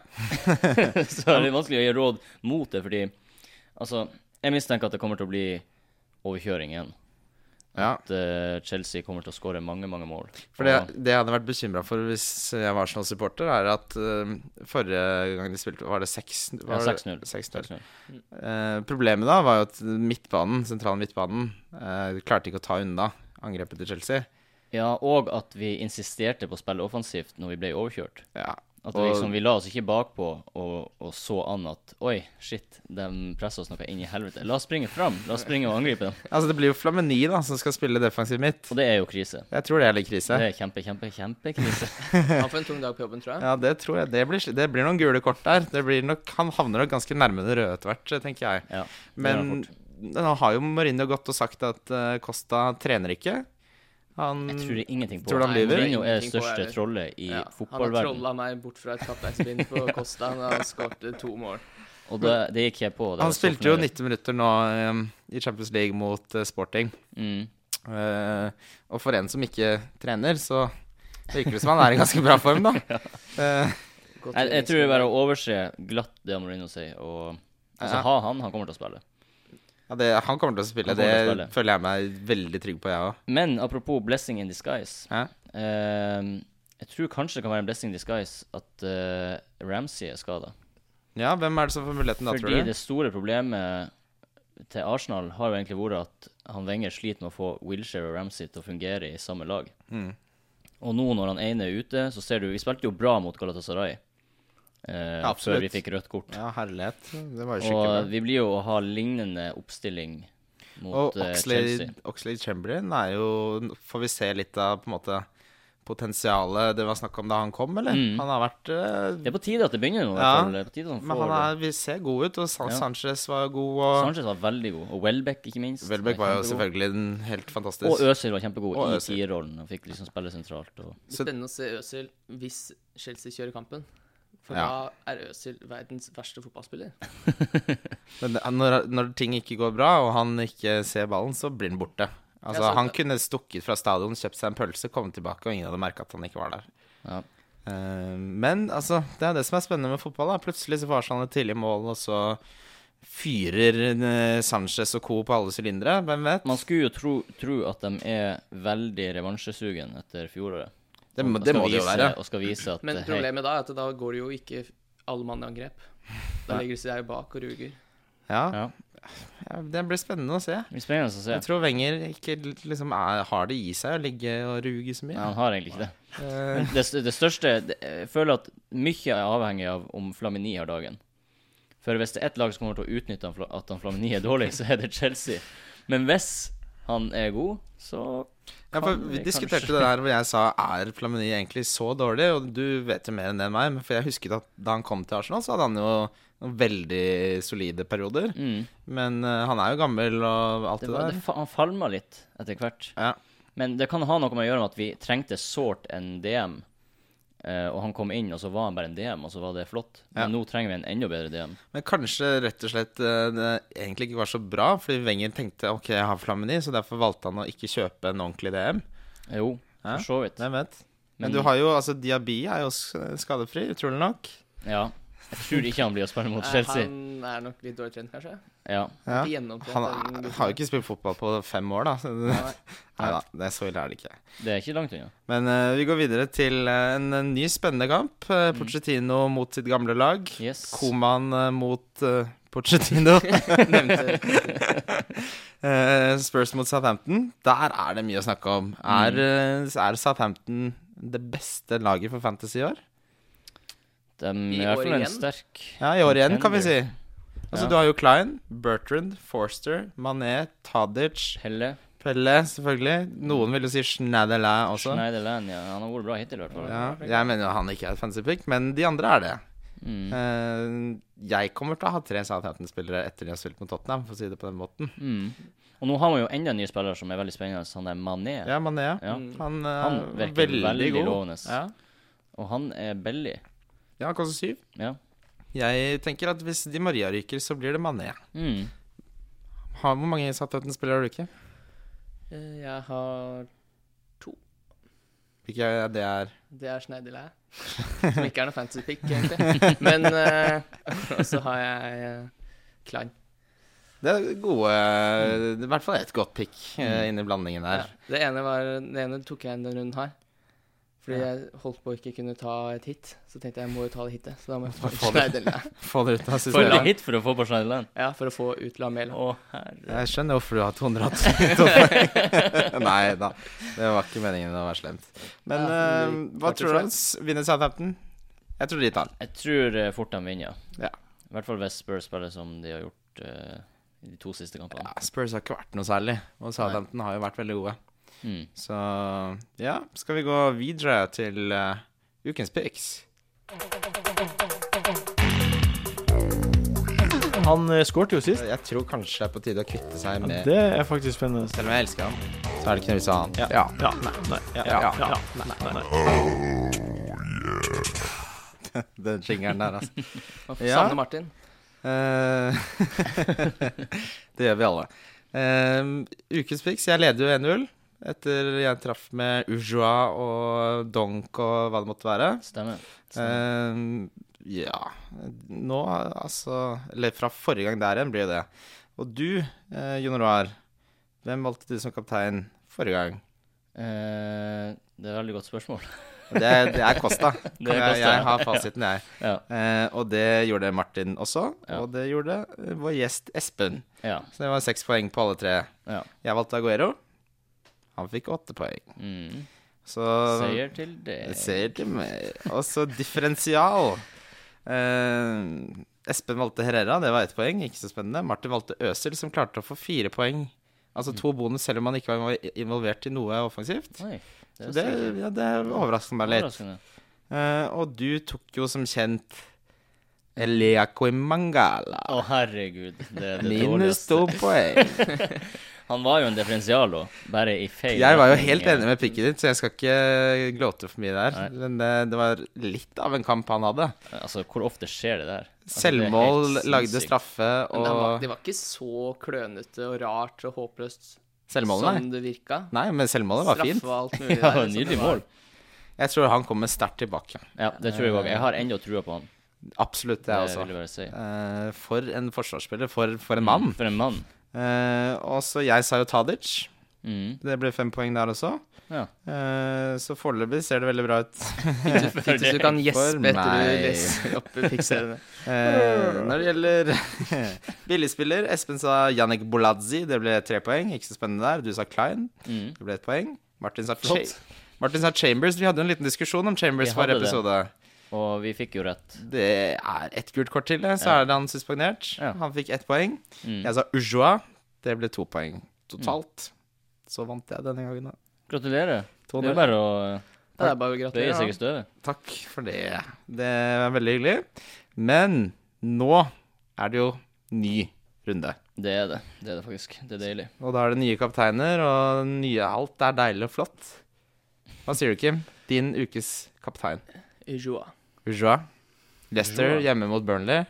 så det er litt vanskelig å gi råd mot det, fordi Altså, jeg mistenker at det kommer til å bli overkjøring igjen. Ja. at eh, Chelsea kommer til å skåre mange, mange mål. For det, Og- det jeg hadde vært bekymra for hvis jeg var Arsenal-supporter, er at eh, forrige gang de spilte, var det 6 ja, var det- 6-0. 6-0. 6-0. Eh, problemet da var jo at midtbanen, sentralen midtbanen, eh, klarte ikke å ta unna angrepet til Chelsea. Ja, og at vi insisterte på å spille offensivt når vi ble overkjørt. Ja. At Og- vi, liksom, vi la oss ikke bakpå og, og så an at Oi, shit, de presser oss noe inn i helvete. La oss springe fram. La oss springe og angripe dem. Altså, det blir jo Flamini da, som skal spille defensiv midt. Og det er jo krise. Jeg tror det er litt krise. Det er kjempe, kjempe, kjempekrise. Han får en tung dag på jobben, tror jeg. Ja, det tror jeg. Det blir, sli- det blir noen gule kort der. Det blir nok, han havner nok ganske nærme det røde etter hvert, tenker jeg. Ja, Men nå har jo Mourinho gått og sagt at eh, Costa trener ikke. Han Jeg tror det er ingenting på Tror du han Nei, lyver? Mourinho er det Ingenting på største heller. trollet i Ja, Han har fotballverdenen. trolla meg bort fra et kappleiksbind på Costa. Han har skåret to mål. Og det, det gikk jeg på. Det var han så spilte jo fornøyd. 90 minutter nå eh, i Champions League mot eh, Sporting. Mm. Eh, og for en som ikke trener, så virker det som han er i ganske bra form, da. Eh, Godt Jeg, jeg tror det er bare å overse glatt det Mourinho sier, og altså, Ja. ha han, han kommer til å spille. ja, det, han kommer til å spille, Han kommer til å det føler jeg meg veldig trygg på, jeg òg. Men apropos blessing in disguise. Ja. ehm, jeg tror kanskje det kan være en blessing in disguise at eh, Ramsey er skada. Ja, hvem er det som får muligheten da, Fordi tror du? det store problemet til Arsenal har jo egentlig vært at han Wenger sliter med å få Wilshere og Ramsey til å fungere i samme lag. Mm. Og nå når han ene er ute, så ser du Vi spilte jo bra mot Galatasaray eh, Ja, absolutt. før vi fikk rødt kort. Ja, herlighet. Det var jo og skikkelig bra. vi blir jo å ha lignende oppstilling mot Og eh, Oxley, Chelsea. Oxley Chamberlain er jo Får vi se litt av på en måte potensialet det var snakk om da han kom, eller? Mm. Han har vært eh, Det er på tide at det begynner nå. i Ja, hvert fall. Det er på tide at han Men får han er, vi ser god ut, og San Ja. Sanchez var god, og Sanchez var veldig god. Og Welbeck, ikke minst. Welbeck var jo kjempegod. selvfølgelig en helt fantastisk. Og Øzil var kjempegod Og i Özil. tierrollen. Han fikk liksom spille sentralt. Og... Det blir spennende å se Øzil hvis Chelsea kjører kampen. For Ja. da er Øzil verdens verste fotballspiller. Men det- når, når ting ikke går bra, og han ikke ser ballen, så blir den borte. Altså, Ja, så- han kunne stukket fra stadion, kjøpt seg en pølse, kommet tilbake, og ingen hadde merka at han ikke var der. Ja. Eh, men altså, det er det som er spennende med fotball. Da. Plutselig så får Arsenal et tidlig mål, og så fyrer eh, Sanchez og co. på alle sylindere. Hvem vet? Man skulle jo tro, tro at de er veldig revansjesugen etter fjoråret. Det, må- Og det skal må det jo vise- være. Og skal vise at Men eh, hei, problemet da er at da går det jo ikke alle mann i angrep. Da legger de seg bak og ruger. Ja, ja. ja, det blir spennende å se. Det blir spennende å se. Jeg tror Wenger ikke liksom er, har det i seg å ligge og ruge så mye. Nei, han har egentlig ikke det. Eh, Men det, st- det største det, Jeg føler at mye er avhengig av om Flamini har dagen. For hvis det er ett lag som kommer til å utnytte han, Fla- at han Flamini er dårlig, så er det Chelsea. Men hvis han er god, så Ja, for Kan Vi vi diskuterte kanskje- det der hvor jeg sa er Flamini egentlig så dårlig? Og du vet jo mer enn det enn meg, men for jeg husket at da han kom til Arsenal, så hadde han jo noen veldig solide perioder. mm, Men eh, han er jo gammel og alt det det, var, det, der. fa- Han falma litt etter hvert. Ja. Men det kan ha noe med å gjøre med at vi trengte sårt en DM. eh, og han kom inn, og så var han bare en DM, og så var det flott. Men nå trenger vi en enda bedre DM. Men kanskje rett og slett eh, det egentlig ikke var så bra, fordi Wenger tenkte ok, jeg har Flamini, så derfor valgte han å ikke kjøpe en ordentlig DM. Jo, Ja. for så vidt. Hvem vet? Men, Men- du har jo altså Diaby er jo sk- skadefri, utrolig nok. Ja. Jeg tror ikke han blir å spille mot Eh, Chelsea. Han er nok litt dårlig trent, kanskje. Ja. Ja. Ikke gjennomtrent, Han den er, gutten. har jo ikke spilt fotball på fem år, da. Så, nei Nei. da, det er så ille er det ikke. Det er ikke langt unna. Men eh, vi går videre til eh, en, en ny spennende kamp. Uh, Pochettino mot sitt gamle lag. Yes. Koman eh, mot uh, Pochettino. Nevnte Eh, Spurs mot Southampton. Der er det mye å snakke om. Er, eh, er Southampton det beste laget for Fantasy i år? De er I i hvert år fall en igjen? sterk Ja, i år igjen, kan vi si. Contender. Altså, Ja. Du har jo Klein, Bertrand, Forster, Mané, Tadic, Pelle. Pelle, selvfølgelig. Noen vil jo si Schneiderlin også. Schneiderland, ja. Han har vært bra hittil, i hvert fall. Ja, jeg mener jo han ikke er et fancy pick, men de andre er det. Mm. Eh, jeg kommer til å ha tre Southampton-spillere etter de har spilt mot Tottenham, for å si det på den måten. Mm. Og nå har man jo enda en ny spiller som er veldig spennende, han er Mané. Ja, Mané. Ja. Mm. Han, eh, Han virker veldig, veldig god. lovende. Ja. Og han er billig. ja, han koster syv. Ja. Jeg tenker at hvis Di Maria ryker, så blir det Mané. Mm. Ha, hvor mange Southampton-spillere har du ikke? Eh, Jeg har Ikke jeg, det er Det er Schneiderlæ. Som ikke er noe fancy pick, egentlig. Men eh, Og så har jeg eh, Klein. Det er gode I hvert fall et godt pick Mm. eh, inni blandingen Ja. der. Det, ene var, det ene tok jeg denne runden her. Fordi jeg holdt på å ikke kunne ta et hit. Så tenkte jeg jeg må jo ta det hitet. Så da må jeg få Få det. Få det ut av For det systemet. er hit for å få på Schneiderland. Ja, for å få ut Lamela. Å, herre. Jeg skjønner hvorfor du har 282 poeng. Nei da, det var ikke meningen å være slemt. Men Ja, men eh, det hva klarte tror du? selv. s- Vinner Southampton? Jeg tror de tar den. Jeg tror eh, fort de vinner, Ja. I hvert fall hvis Spurs spiller som de har gjort eh, i de to siste kampene. Ja, Spurs har ikke vært noe særlig, og Southampton har jo vært veldig gode. Mm. Så ja, skal vi gå videre til eh, ukens picks? Han eh, skårte jo sist. Jeg tror kanskje det er på tide å kvitte seg med Det er faktisk spennende. Selv om jeg elsker han, så er det ikke noe vits i å ha han. Ja. Ja, nei, nei, ja, ja, Ja. ja, nei, nei, nei. Den jingeren der, altså. Man får Ja. savne Martin. Eh, det gjør vi alle. Eh, ukens Pix, jeg leder jo 1-0 etter jeg traff med Ujua og Donk og hva det måtte være. Stemmer. Stemmer. Eh, ja Nå, altså Eller fra forrige gang der igjen blir det. Og du, eh, Jon Roar, hvem valgte du som kaptein forrige gang? Eh, det er et veldig godt spørsmål. Det, det er Kosta. Det Kan er jeg, Costa, jeg ja. har fasiten, jeg. Ja. Eh, og det gjorde Martin også. Ja. Og det gjorde eh, vår gjest Espen. ja. Så det var seks poeng på alle tre. Ja. Jeg valgte Aguero. Han fikk åtte poeng. Mm. Så Seier til det. Seier til meg. Og så differensial. Eh, Espen valgte Herrera, det var ett poeng. Ikke så spennende. Martin valgte Øsil, som klarte å få fire poeng. Altså to bonus selv om han ikke var involvert i noe offensivt. Oi, det Så er det, sikkert ja, det overrasker meg litt. overraskende. Eh, og du tok jo som kjent Eliakim Mangala. Å, herregud. Det er det Minus dårligste. to poeng. Han var jo en differensial òg, bare i feil Jeg var jo retning, helt eh, enig med pikken ditt, så jeg skal ikke glåte for mye der. Nei. Men det, det var litt av en kamp han hadde. Altså, hvor ofte skjer det der? Altså, det er helt Selvmål, lagde sinnssykt. straffe Men det var, og det var ikke så klønete og rart og håpløst sånn Selvmålet, nei. som det virka. Nei, men selvmålet var Straff fint. og alt mulig Ja, der, altså. så det nydelig var- mål. Jeg tror han kommer sterkt tilbake. Ja, det tror jeg òg. Jeg har ennå trua på han. Absolutt, Det det også. vil jeg bare si. Eh, for en forsvarsspiller. For, for en mann. For en mann. Eh, og så jeg sa jo Tadic. Mm. Det ble fem poeng der også. Ja. Eh, så foreløpig ser det veldig bra ut. Fint hvis du kan gjespe etter du meg. leser opp fikserende. Eh, når det gjelder billigspiller, Espen sa Jannik Boladzi. Det ble tre poeng. Ikke så spennende der. Du sa Klein. Mm. Det ble ett poeng. Martin sa, Cha Flott. Martin sa Chambers. Vi hadde jo en liten diskusjon om Chambers Vi forrige hadde det. episode. Og vi fikk jo rett. Det er ett gult kort til, det, så Ja. er det han suspendert. Ja. Han fikk ett poeng. Mm. Jeg sa Ujua. Det ble to poeng totalt. Så vant jeg denne gangen, da. Gratulerer. Det 2-0. er bare å Ja, det er bare å bøye gratulere. seg i da. støvet. Takk for det. Det var veldig hyggelig. Men nå er det jo ny runde. Det er det. Det er det faktisk. Det er deilig. Og da er det nye kapteiner, og nye alt er deilig og flott. Hva sier du, Kim? Din ukes kaptein. Joa. Ujua. Leicester Ujua. hjemme mot Burnley.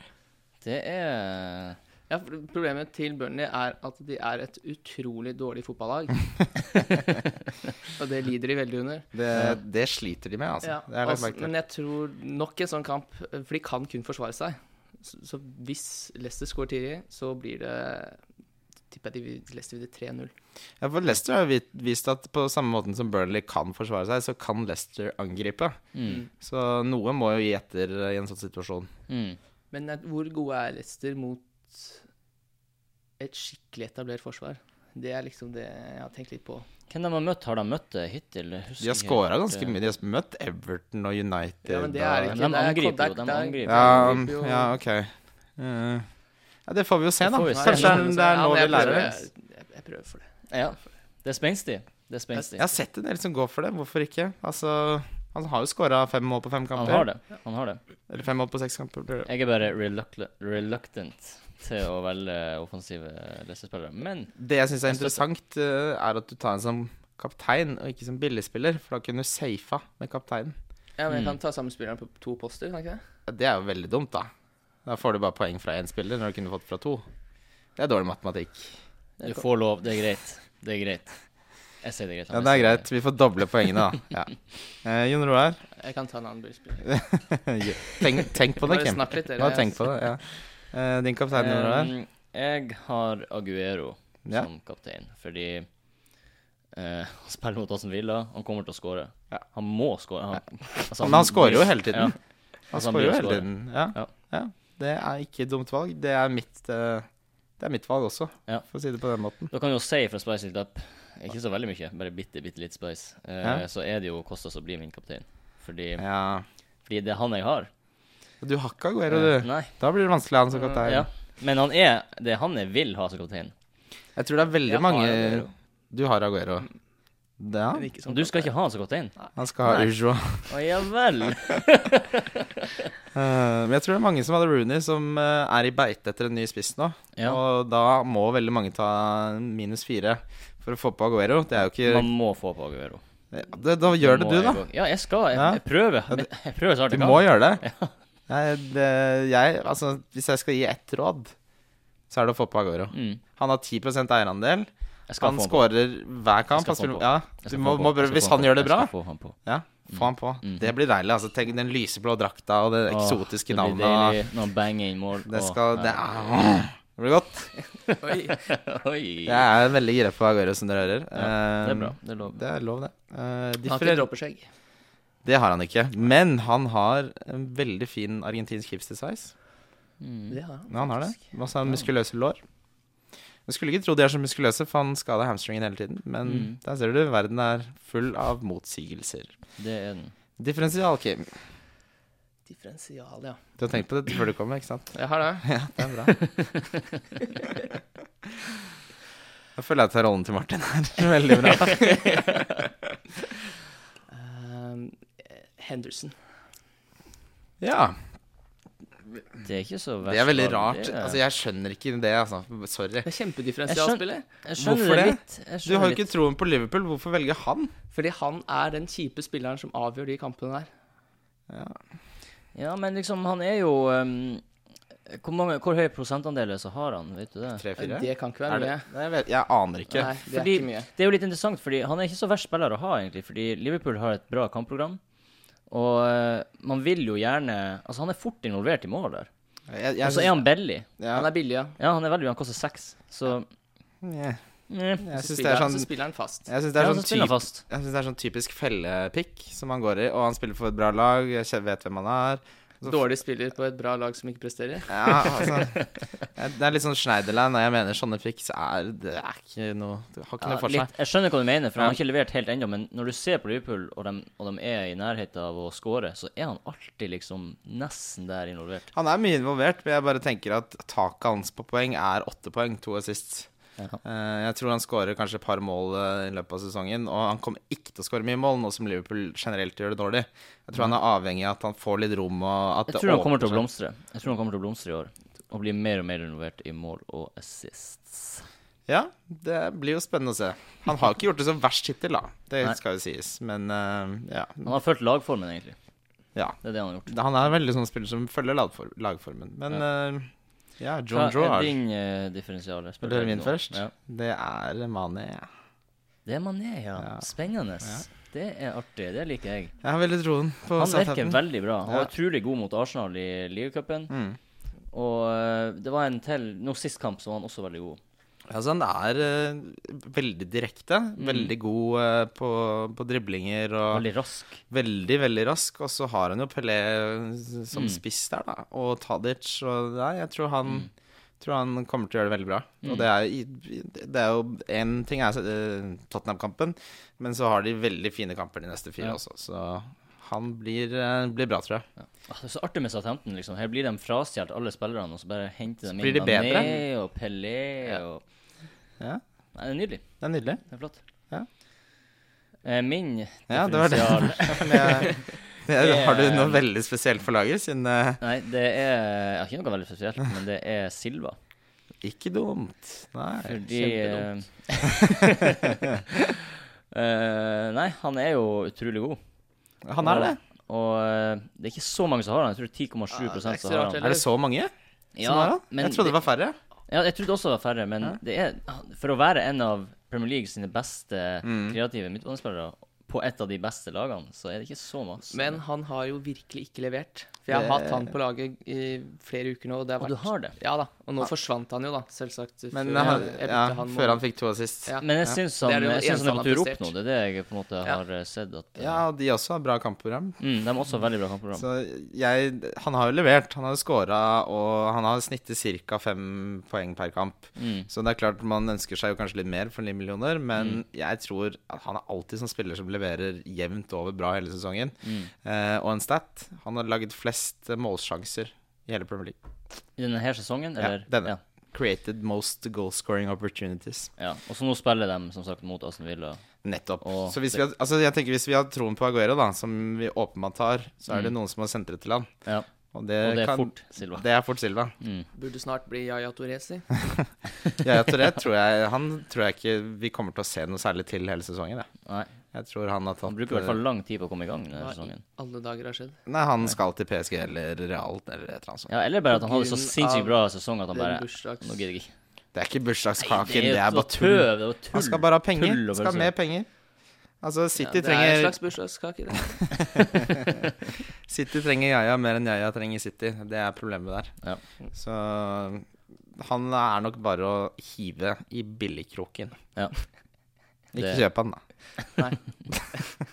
Det er Ja, for problemet til Burnley er at de er et utrolig dårlig fotballag. og det lider de veldig under. Det, det sliter de med, altså. Ja, Det er lagt altså, merke til. men jeg tror nok en sånn kamp, for de kan kun forsvare seg. Så, så hvis Leicester scorer tidlig, så blir det Tipper jeg de vil- Leicester vinner 3-0. Ja, for Leicester har jo vit- vist at på samme måten som Burnley kan forsvare seg, så kan Leicester angripe. mm. Så noe må jo gi etter eh, i en sånn situasjon. Mm. Men jeg- hvor gode er Leicester mot et skikkelig etablert forsvar? Det er liksom det jeg har tenkt litt på. Hvem de har møtt, har de møtt det hittil? Jeg husker De har ikke scora helt, ganske eh, mye. De har møtt Everton og United. Ja, men det er og- ikke de det er angriper jo, Kodak de der. angriper. ja, De angriper jo. ja, OK. Eh, ja, det får vi jo se, Det da. får vi se. Kanskje det er- det er Ja, nå men vi jeg lærer prøver- det. Jeg, jeg prøver for det. Ja. Det er spenstig. Det er spenstig. Jeg har sett en del som går for det. Hvorfor ikke? Altså, han har jo skåra fem mål på fem Han kamper. har det. Han har det. Eller fem mål på seks kamper. blir det. Jeg er bare relucta- reluctant til å velge offensive lesespillere. Men Det jeg syns er Jeg støtter. interessant, eh, er at du tar en som kaptein, og ikke som billigspiller. For da kunne du safa med kapteinen. Ja, men Mm. jeg kan ta sammen spilleren på to poster, kan jeg ikke det? Ja, Det er jo veldig dumt, da. Da får du bare poeng fra én spiller, når du kunne fått fra to. Det er dårlig matematikk. du får lov. Det er greit. Det er greit. Jeg sier det er greit. Ja, det er greit. Vi får doble poengene, da. Ja. Eh, Jon Roar, Jeg kan ta en annen bilspiller. tenk, tenk på det, Bare Kim. snakk litt, dere. Bare tenk på det. Ja. Eh, din kaptein, Jon Roar. Um, Jeg har Aguero Ja. som kaptein, fordi eh, han spiller mot Aston Villa. Han kommer til å skåre. Ja. Han må skåre. Han, altså, Men han scorer jo hele tiden. Ja. Han Altså, han skårer jo blir å hele score. tiden. Ja. Ja. Ja. Det er ikke et dumt valg. Det er mitt, eh, det er mitt valg også, Ja. for å si det på den måten. Da kan du jo si fra Spice litt opp Ikke så veldig mye, bare bitte, bitte litt Spice. Eh, Ja. Så er det jo Kostas som blir min kaptein. Fordi, Ja. fordi det er han jeg har. Du har ikke Aguero, Eh, du. Nei. Da blir det vanskelig han som kaptein. Ja. Men han er det er han jeg vil ha som kaptein. Jeg tror det er veldig Jeg har mange Aguero. Du har Aguero. Ja, Men ikke Og du skal ikke ha han som kaptein? han skal ha Nei. Ujo. Å ja vel. Eh, men jeg tror det er mange som hadde Rooney, som eh, er i beite etter en ny spiss nå. Ja. Og da må veldig mange ta minus fire for å få på Aguero. Det er jo ikke Man må få på Aguero. Ja, det, Da eh, gjør det Må du, jeg da. gå- Ja, jeg skal. Jeg, Ja. jeg prøver. Jeg, jeg prøver så hardt Du jeg må kan. gjøre det. Jeg, det jeg, altså, hvis jeg skal gi ett råd, så er det å få på Aguero. Mm. Han har 10 eierandel. Jeg skal Han få på. skårer hver kamp. Han Jeg skal få han spiller, på. ja, Jeg du skal må, få må, på. Jeg skal hvis få han gjør det bra, Jeg skal få han på. ja, få han på. Mm. Det blir deilig. altså Tenk den lyseblå drakta og det Åh, eksotiske det blir navnet. deilig Når han banger inn mål. Det Åh, skal ja. Det er det blir godt. Oi. Jeg er veldig gira på Aguero, som dere hører. Det er Eh, bra. Det er lov. Det er lov, det. Eh, Han har differer- ikke dropperskjegg. det har han ikke. Men han har en veldig fin argentinsk hipster-sveis. Mm. Det har han. Ja, han har det. Masse muskuløse lår. Jeg skulle ikke tro de er så muskuløse, for han skada hamstringen hele tiden. Men Mm. der ser du, verden er full av motsigelser. Det er den. Differensial, Kim. Differensial, ja. Du har tenkt på dette før du kommer, ikke sant? Jeg har det. Ja, det er bra. Jeg føler jeg tar rollen til Martin her. Veldig bra. Ehm, Henderson. Ja. Det er ikke så verst. Det er veldig valg, rart. det er- Altså, jeg skjønner ikke det, altså. Sorry. Det er kjempedifferensialspiller. jeg skjønner hvorfor det det? litt. Jeg Du har skjønner jo ikke litt. troen på Liverpool. Hvorfor velge han? Fordi han er den kjipe spilleren som avgjør de kampene der. Ja, men liksom, han er jo ehm, hvor, mange, hvor høy prosentandeler så har han, vet du det? Tre-fire? Det kan ikke være Er det? mye. Nei, Jeg, vet, jeg aner ikke. Nei, det er Fordi- ikke mye. Det er jo litt interessant, fordi han er ikke så verst spiller å ha, egentlig. Fordi Liverpool har et bra kampprogram. Og eh, man vil jo gjerne Altså, han er fort involvert i mål der. Jeg, Og jeg, så er han billig. ja. Han er billig, ja. Ja, han er veldig Han koster seks, så Nja. mm. Jeg Så syns det spiller, er han- sånn så spiller han fast. Jeg syns det, Ja, er så sånn spiller han typ, fast. jeg synes det er sånn typisk fellepikk som han går i. Og han spiller for et bra lag, jeg kje- vet hvem han er. Så- Dårlig spiller på et bra lag som ikke presterer. Ja, altså, jeg- det er litt sånn Schneiderland. Og jeg mener sånne pics er Det er ikke noe Det har ikke Ja, noe for seg. litt, jeg skjønner hva du mener, for Ja. han har ikke levert helt ennå. Men når du ser på Liverpool, og de, og de er i nærheten av å skåre, så er han alltid liksom nesten der involvert. Han er mye involvert, men jeg bare tenker at taket hans på poeng er åtte poeng. To assist. Ja. Eh, Jeg tror han skårer kanskje et par mål eh, i løpet av sesongen. Og han kommer ikke til å skåre mye mål, nå som Liverpool generelt gjør det dårlig. Jeg tror han er avhengig av at han får litt rom. Og at Mm. Jeg det tror han kommer åpner til å seg. blomstre. Jeg tror han kommer til å blomstre i år. Og bli mer og mer involvert i mål og assists. Ja, det blir jo spennende å se. Han har ikke gjort det så verst hittil, da. Det Nei. skal jo sies. Men eh, ja. Han har fulgt lagformen, egentlig. ja. Det er det han har gjort. Han er veldig sånn spiller som følger lagfor- lagformen. Men eh, ja, Hva John Draw er din eh, differensial? Jeg spør Vil du høre deg min nå. først? Ja. Det er Mané. Det er Mané, ja. Ja. Spennende. Det er artig. Det liker jeg. Jeg har veldig troen på Han virker Southampton. veldig bra. Han Ja. var utrolig god mot Arsenal i ligacupen. Mm. Og eh, det var en til Nå sist kamp så var han også veldig god. Altså, han er eh, veldig direkte. Veldig god eh, på, på driblinger og Veldig rask. veldig, veldig rask. Og så har han jo Pelé som spiss der, da. Og Tadic og Nei, jeg tror han Tror han kommer til å gjøre det veldig bra. Og det er, i- det er jo én ting er eh, Tottenham-kampen, men så har de veldig fine kamper de neste fire Ja. også. Så han blir, eh, blir bra, tror jeg. Ah, Det er så artig med Southampton. liksom. Her blir de frastjålet, alle spillerne, og så bare henter de blir inn de bedre. Mané og Pelé og Ja, Nei, det er nydelig. Det er nydelig. Det er flott. Ja. Eh, min Ja, det var det. differensial Men jeg, jeg, har du noe veldig spesielt for laget, siden eh, Nei, det er ja, ikke noe veldig spesielt, men det er Silva. Ikke dumt. Nei. Fordi Eh, Nei, han er jo utrolig god. Han er det. Og eh, det er ikke så mange som har han. Jeg tror 10,7 Ja, det er ikke så som har rart han. heller. Er det så mange som har han? men Jeg trodde det var færre. Ja, jeg trodde også det var færre, men det er For å være en av Premier League sine beste Mm. kreative midtbanespillere på et av de beste lagene, så er det ikke så masse. Men han har jo virkelig ikke levert. For jeg har Det- hatt han på laget i flere uker nå. Og, det har Og vært, du har det. Ja da. Og nå forsvant han jo, da, selvsagt. Men før ja, jeg- ja, jeg bytte han før mot- han fikk to assist. Ja. Ja, Men jeg syns han, Det er det jeg synes eneste han er han på tur har opp nå. prestert. Det er det jeg på en måte Ja. har eh, sett. At, eh, og de også har bra kampprogram. mm, de har også veldig bra kampprogram. Så jeg Han har jo levert. Han har jo scora, og han har snittet ca. fem poeng per kamp. Mm. Så det er klart man ønsker seg jo kanskje litt mer for 9 millioner, men jeg tror at han er alltid som spiller som leverer jevnt over bra hele sesongen. Eh, og en stat. Han har laget flest eh, målsjanser i hele Premier League. I denne her sesongen, Ja, eller? denne. Ja. Created most goal scoring opportunities. ja. Og så nå spiller de som sagt mot Aston Villa. Nettopp. Og så hvis vi, har, altså jeg tenker hvis vi har troen på Aguero, da, som vi åpenbart har, så er det noen som har sentret til han. Mm. Ja. Og det, Og det er kan, fort, Silva. Mm. Det er fort Silva. Burde snart bli Yaya Touré, si. Yaya Touré tror jeg Han tror jeg ikke vi kommer til å se noe særlig til hele sesongen. Jeg, Nei. jeg tror han har tatt Han bruker i hvert fall lang tid på å komme i gang denne Hva i sesongen. alle dager har skjedd? Nei, han skal til PSG eller Real eller et eller annet sånt. Ja, eller bare at han hadde så grunn sinnssykt av bra sesong at han den bare bursdags- Nå gidder jeg ikke. Det er ikke bursdagskaken, det jo er bare tøv, tull. Det var tull. Han skal bare ha penger. Tull og Skal ha bare mer så- penger. Altså, Ja, City det er en trenger slags bursdagskake. det. City trenger Yaya mer enn Yaya trenger City. Det er problemet der. Ja. Så han er nok bare å hive i billigkroken. Ja. Ikke Det- kjøp han, da.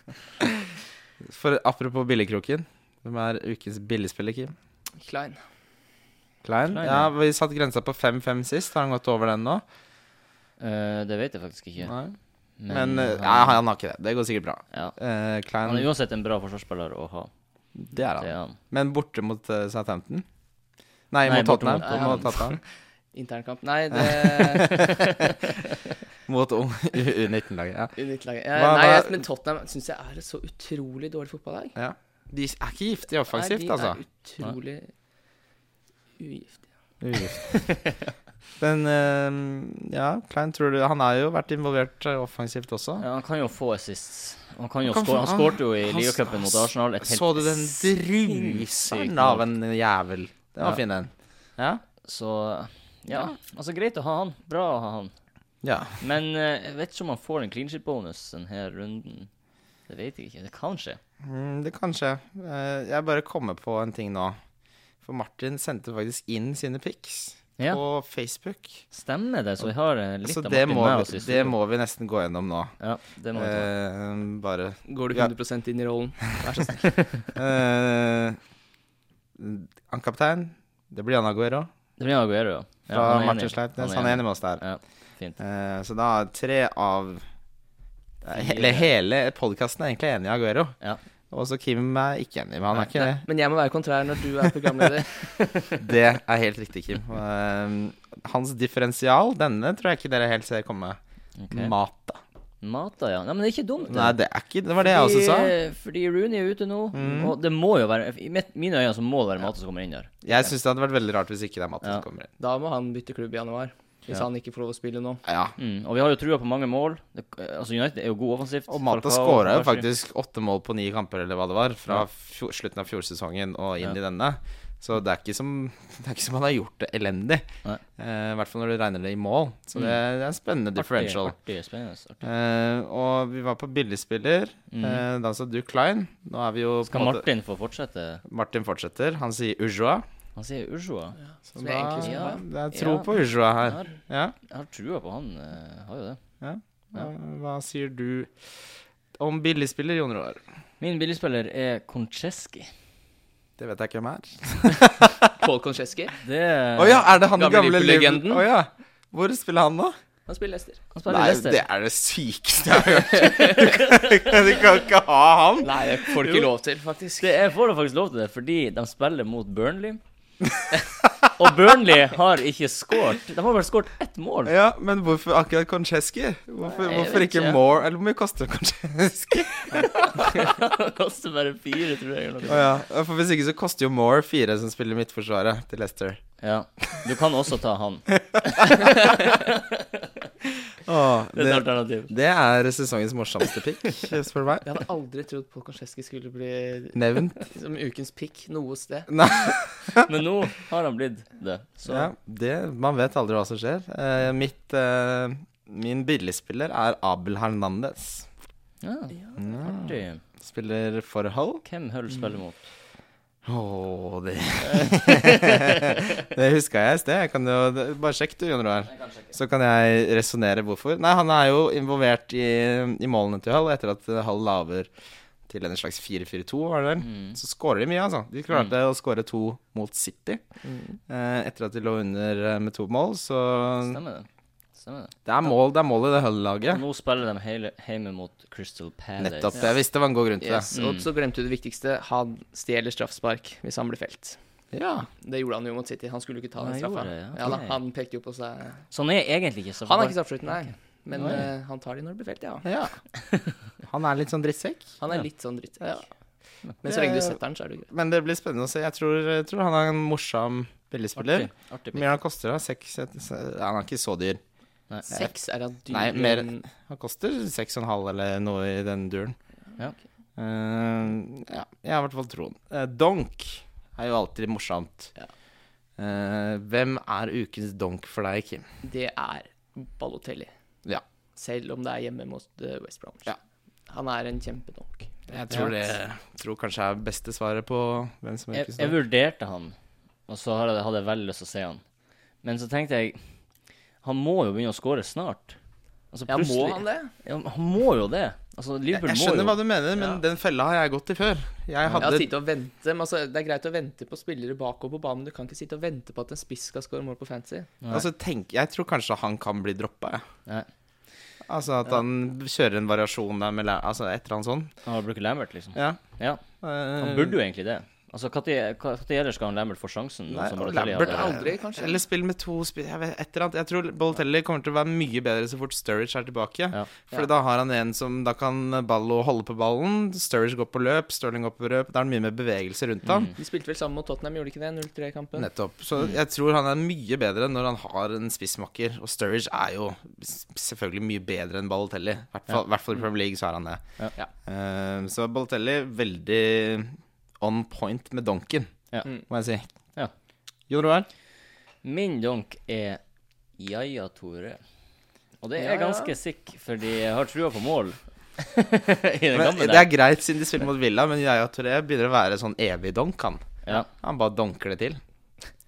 For apropos billigkroken, hvem er ukens billigspiller, Kim? Klein. Klein? Klein, Ja, vi satt grensa på 5-5 sist. Har han gått over den nå? Eh, det vet jeg faktisk ikke. Nei. Men eh, han- Nei, han har ikke det. Det går sikkert bra. ja. Eh, Klein, Han er uansett en bra forsvarsspiller å ha. det er Det han. er han. Men borte mot eh, Southampton? Nei, Nei, mot borte Tottenham. mot Mot, Tottenham. Tottenham. Internkamp. Nei, det mot ung- U19-laget. Ja. Unittlaget. Hva- Nei, hva- jeg, men Tottenham syns jeg er et så utrolig dårlig fotballag. Ja. De er ikke giftige offensivt, Nei, de altså. er utrolig ugiftige. Ugift. Men eh, ja, Klein, tror du Han har jo vært involvert eh, offensivt også. Ja, han kan jo få assists. Han kan jo Han kan få- score. Han skårte jo i han- ligacupen mot Arsenal. Et helt Så du den sinnssykt druseren mål. av en jævel? Det Ja. var fin, den. Ja. Så ja, altså greit å ha han. Bra å ha han. ja. Men eh, jeg vet ikke om han får en clean shit-bonus denne runden. Det vet jeg ikke. Det kan skje. Mm, det kan skje. Eh, jeg bare kommer på en ting nå. For Martin sendte faktisk inn sine pics Ja. på Facebook. Stemmer det, så vi har eh, litt Så av Altså, det Martin må, med oss vi, i det studio. må vi nesten gå gjennom nå. Ja, det må vi ta. Eh, bare Går du Ja. 100 inn i rollen? Vær så snill. Eh, Han kaptein, det blir Jan Aguero Det blir Aguero, fra ja. ja han er Martin enig. Sleipnes. Han er enig med oss der. Ja, fint. Eh, så da er tre av Eller hele podkasten er egentlig enig i Aguero. Ja. Og så Kim er ikke enig, men han er ikke det. Men jeg må være kontrær når du er programleder. Det er helt riktig, Kim. Eh, hans differensial, denne tror jeg ikke dere helt ser komme. Ok. Mata. Mata, ja. Nei, men det er ikke dumt. Nei, det er ikke Det var det jeg også sa. Mm. Fordi- eh, Fordi Rooney er ute nå, og det må jo være I mitt- mine øyne så må det være Mata som kommer inn der. Jeg syns det hadde vært veldig rart hvis ikke det er Mata Ja. som kommer inn. Da må han bytte klubb i januar. Hvis han ikke får lov å spille nå. Ja. Mm. Og vi har jo trua på mange mål. Det, altså United er jo god offensivt. Og Mata Falcao, skåra jo Kovacic. faktisk åtte mål på ni kamper, eller hva det var, fra fjor, slutten av fjorsesongen og inn i denne. Så det er ikke som Det er ikke som han har gjort det elendig. Nei. Eh, I hvert fall når du regner det i mål. Så det, det er en spennende differential. Artig, artig, spennende. Artig. Eh, og vi var på billigspiller. Eh, da sa du Klein. Nå er vi jo på Skal en måte- Martin få fortsette? Martin fortsetter. Han sier Ujua. Han sier Ursua. Så Som jeg da, egentlig skulle ja, ha. det er tro Ja. på Ujua her. Jeg har, Ja. jeg har trua på han. eh, har jo det. ja. Hva sier du om billigspiller, Jon Roar? Min billigspiller er Koncheski. Det vet jeg ikke hvem er. Paul Koncheski, Det Å ja, er det han Gamle gamle, gamle Liverpool-legenden? Liverpool- Å ja. Hvor spiller han nå? han spiller Leicester. Han spiller Nei, Leicester. det er det sykeste jeg har hørt. Du kan, du kan ikke ha han. Nei, det får du ikke lov til, faktisk. Det, jeg får da faktisk lov til det, fordi de spiller mot Burnley. og Burnley har ikke skåret. De har bare skåret ett mål. Ja, men hvorfor akkurat Koncheski? Hvorfor, Nei, jeg hvorfor vet ikke ikke. More? Eller hvor mye koster Koncheski? Det koster bare fire, tror jeg. Å Eller noe. ja. For hvis ikke så koster jo More fire som spiller i midtforsvaret til Leicester. Ja. Du kan også ta han. Det Åh, er et det, alternativ. det er sesongens morsomste pick, spør du meg. Jeg hadde aldri trodd Paul Koncheski skulle bli Nevnt. som ukens pick noe sted. Men nå har han blitt det. Så Ja, det, man vet aldri hva som skjer. Eh, mitt, eh, min billigspiller er Abel Hernandez. ja. Artig. Spiller for Hull. Hvem Hull spiller mot? Åh, det Det huska jeg i sted. Jeg kan jo, det- bare sjekk du, Jon Roar. Så kan jeg resonnere hvorfor. Nei, han er jo involvert i, i målene til Hull etter at Hull laver til en slags 4-4-2, var det vel. Så skårer de mye, altså. De klarte å skåre to mot City eh, etter at de lå under eh, med to mål, så Stemmer det. Stemmer det. det er mål, det er mål i det Og Hull-laget. nå spiller de hele, hjemme mot Crystal Palace. Nettopp. Jeg visste det var en god grunn til Yes. det. Og så glemte du det viktigste. Han stjeler straffespark hvis han blir felt. Ja. Det gjorde han jo mot City. Han skulle jo ikke ta Han den straffa. gjorde det, ja. Ja, da, Ok. han pekte jo på Så seg han Sånn er egentlig ikke så Han er ikke straffeskytter, nei. Men Oi. eh, han tar de når det blir felt, ja. ja. Han er litt sånn drittsekk. Han er Ja. litt sånn drittsekk. Ja. Men så lenge du setter den, så er det greit. Men det blir spennende å se. Jeg tror, jeg tror han er en morsom billigspiller. Artig. Artig. Hvor mye han koster han? Seks, set- se- han er ikke så dyr. Seks er han dyr Nei, mer- Han koster seks og en halv eller noe i den duren. Ja. Eh, ja, jeg har i hvert fall troen. Eh, donk er jo alltid morsomt. Ja. Eh, hvem er ukens donk for deg, Kim? Det er Balotelli. Ja. Selv om det er hjemme mot eh, West Bromwich. Ja. Han er en kjempedonk. Jeg tror det tror kanskje er beste svaret på hvem som er Jeg, ukens jeg donk. vurderte han, og så hadde jeg, hadde jeg vel lyst til å se han. Men så tenkte jeg Han må jo begynne å score snart. Altså, Ja, må plutselig- han det? Ja, men han må jo det. Altså, Jeg, Liverpool jeg må skjønner jo hva du mener, men Ja. den fella har jeg gått i før. Jeg Jeg hadde har sittet og vente, men altså, Det er greit å vente på spillere bakover på banen, men du kan ikke sitte og vente på at en spiss skal score mål på fancy. Nei. Altså, tenk, jeg tror kanskje han kan bli droppa, jeg. Nei. Altså at han kjører en variasjon der med læ- altså et eller annet sånt. Han har brukt Lambert, liksom. Ja. Eh, Ja, Han Han burde jo egentlig det. Altså, Når ellers skal han Lambert få sjansen? Nei, som og Balotelli Lambert hadde? Aldri, kanskje. Eller spill med to spill Jeg vet et eller annet. Jeg tror Boltelli kommer til å være mye bedre så fort Sturridge er tilbake. Ja. For da har han en som Da kan Ballo holde på ballen, Sturridge går på løp, Sterling går på løp. Da er det mye mer bevegelse rundt Mm. ham. De spilte vel sammen mot Tottenham, gjorde de ikke det? 0-3-kampen. Nettopp. Så jeg tror han er mye bedre når han har en spissmakker. Og Sturridge er jo s- selvfølgelig mye bedre enn Balotelli. I hvert fall, hvert fall i Premier League så er han det. Ja. Eh, så Balotelli veldig on point med donken, Ja. må jeg si. Ja. Jon Roar? Min donk er Jaja Tore. Og det er Yaya? ganske sick, fordi jeg har trua på mål. I den Men, gamle det der. er greit siden de spiller mot Villa, men Yaya Toré begynner å være sånn evig donk, han. Ja, Han bare donker det til.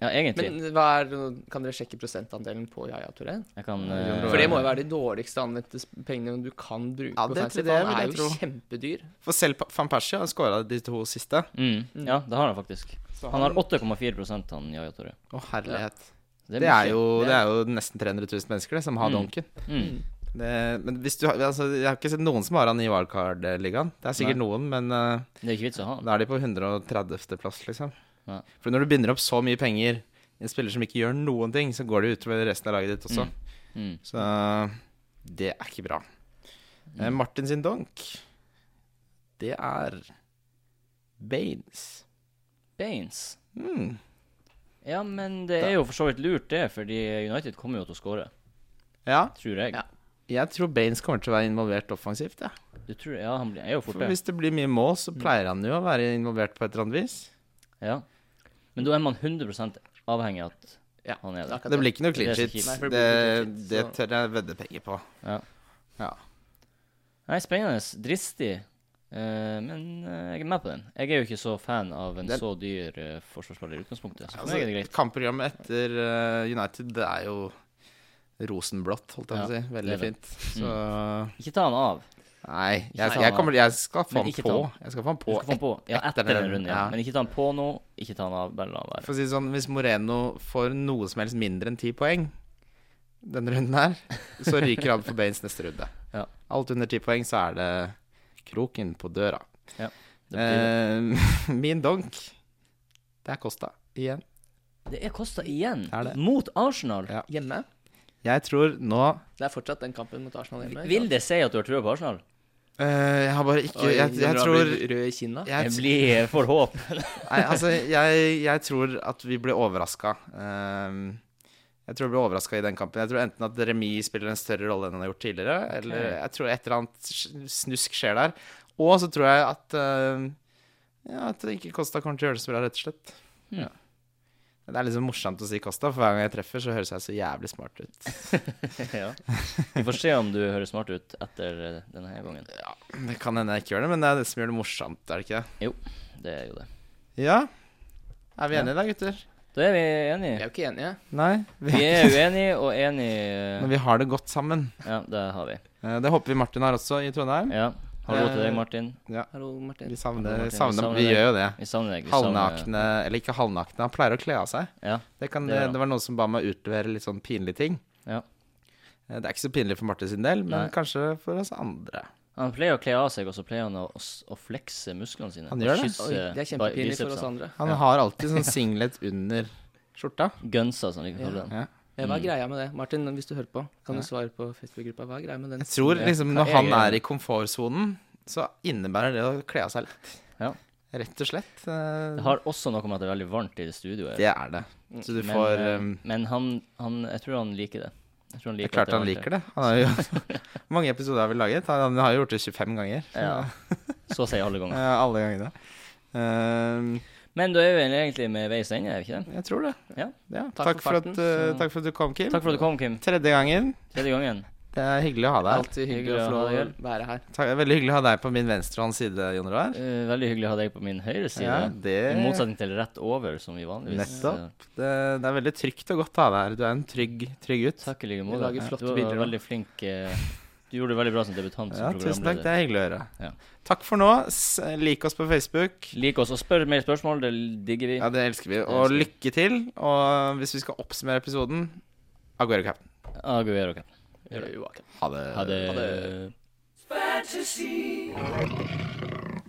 ja egentlig. Men hva er, kan dere sjekke prosentandelen på Yaya Touré? Jeg kan Jon eh, Roar. For det må jo være de dårligste anvendte s- pengene du kan bruke Ja, på det- fancy. det for Han vil er jeg jo tro. kjempedyr. For selv Pa- van Persie har skåra de to siste. mm, Ja, det har han faktisk. Han har 8,4 han Jaja Tore. Å, herlighet. Det Det er, mye. jo, det er jo nesten 300 000 mennesker det, som har donken. Mm. Det, men hvis du har altså, Jeg har ikke sett noen som har han i wildcard-ligaen. Det er sikkert noen, men eh, Det er jo ikke vits å ha han. da er de på 130.-plass, liksom. Ja. For når du binder opp så mye penger i en spiller som ikke gjør noen ting, så går det utover resten av laget ditt også. Mm. Så det er ikke bra. Eh, Martin sin donk, det er Baines. Baines. Mm. Ja, men det er jo for så vidt lurt, det, fordi United kommer jo til å skåre. Ja, Tror jeg. Ja. jeg tror Baines kommer til å være involvert offensivt, jeg. Ja. Du tror, ja, han blir- er jo fort For det. hvis det blir mye mål, så pleier han jo å være involvert på et eller annet vis. Ja. Men da er man 100 avhengig av at Ja, han er det er der. akkurat Det blir ikke noe clean Det er så sheets. kjipt. Nei, for det Det, blir ikke det clean sheets, så- tør jeg vedde penger på. Nei, spennende. Dristig. Eh, men eh, jeg er med på den. Jeg er jo ikke så fan av en Den- så dyr eh, forsvarsspiller i utgangspunktet. Så for meg er det Altså, greit. kampprogrammet etter eh, United, det er jo rosenblått, holdt jeg på å si. Veldig det Mm. er fint. Så Ikke ta han av. Nei, jeg, ta jeg, han kommer, jeg skal få Men han ikke på. ta han. Jeg skal få han Du på. skal få han på. Ja, etter etter den den, runden, ja. ja. Men ikke ta han på nå. Ikke ta han av. Bare la han være. For å si det sånn, hvis Moreno får noe som helst mindre enn ti poeng denne runden her, så ryker han for Baines neste runde. Ja. Alt under ti poeng, så er det kroken på døra. Ja, det eh, min donk, det er Costa igjen. Det er Kosta igjen, Er det? mot Arsenal. Ja. Hjemme? Jeg tror nå Det er fortsatt den kampen mot Arsenal hjemme. Vil det si at du har trua på Arsenal? eh, Jeg har bare ikke Oi, Jeg, jeg Jon tror Roar blir Rød i kinna? jeg, Jeg blir for håp. Nei, altså, jeg, jeg tror at vi ble overraska. jeg tror vi ble overraska i den kampen. Jeg tror enten at remis spiller en større rolle enn han har gjort tidligere, eller jeg tror et eller annet sj- snusk skjer der. Og så tror jeg at eh, Ja, at det ikke Costa kommer til å gjøre det så bra, rett og slett. Hmm. Ja. Det er liksom morsomt å si Costa, for hver gang jeg treffer, så høres jeg så jævlig smart ut. ja. Vi får se om du høres smart ut etter eh, denne her gangen. Det kan hende jeg ikke gjør det, men det er det som gjør det morsomt, er det ikke det? Det er jo det. Ja, Er vi enige da, gutter? Da er vi Vi er enige. jo ikke enige. Nei? Vi Vi, er uenige og enige. men vi har det godt sammen. Ja, det har vi. Eh, Det håper vi Martin har også i Trondheim. Ja. Hallo til deg, Martin. Hallo, Martin. Vi savner, Martin, vi savner savner Vi deg. gjør jo det. Vi savner deg. vi savner- Halvnakne, eller ikke halvnakne, han pleier å kle av seg. Ja. Det, kan, Det gjør han. det var noen som ba meg utlevere litt sånn pinlige ting. Ja. Eh, Det er ikke så pinlig for Martin sin del, men Nei. kanskje for oss andre. Han pleier å kle av seg, og så pleier han å, å, s- å flekse musklene sine. Han og gjør det? kysse Oi, det er kjempepinlig for oss bicepsene. andre. Han har alltid sånn singlet under skjorta. Gunsa, som de kaller Ja. den. Ja. Eh, Hva er greia med det? Martin, hvis du hører på, kan du svare på Facebook-gruppa. Hva er greia med den? Jeg tror Ja. liksom Hva når er han greia? er i komfortsonen, så innebærer det å kle av seg litt. Ja. Rett og slett. eh, Det har også noe med at det er veldig varmt i det studioet. Det er det. Så du men får eh, um, men han, han Jeg tror han liker det. Jeg tror han Det er liker klart han liker det. Han har jo Hvor mange episoder har vi laget? Han har jo gjort det 25 ganger. Ja. Så sier alle Eh, ganger. Alle gangene. Eh, Men da er vi egentlig med veis ende, er vi ikke det? jeg tror det. Ja. Ja. Takk, Takk for for farten, at, eh, så- takk for at du kom, Kim. Takk for at du kom, Kim. Tredje gangen. Tredje gangen. Det er hyggelig å ha deg her. Alltid hyggelig å få lov å være her. Takk, veldig hyggelig å ha deg på min venstrehånds side, Jon Roar. Eh, veldig hyggelig å ha deg på min høyre side. Ja, I det, motsetning til rett over, som vi vanligvis Nettopp. eh, det, det er veldig trygt og godt å ha deg her. Du er en trygg, trygg gutt. Takk i like Vi måte. lager flotte du var bilder, da. veldig flink. eh, du gjorde det veldig bra som debutant som Ja, tusen takk. Det programleder. er hyggelig å høre. Ja. Takk for nå. S- Lik oss på Facebook. Lik oss og spør mer spørsmål, det digger vi. Ja, det elsker vi. elsker Og vi. lykke til. Og hvis vi skal oppsummere episoden Aguero Captain. Aguero, Captain. Gjør det uakkurat. Ha det. Ha det.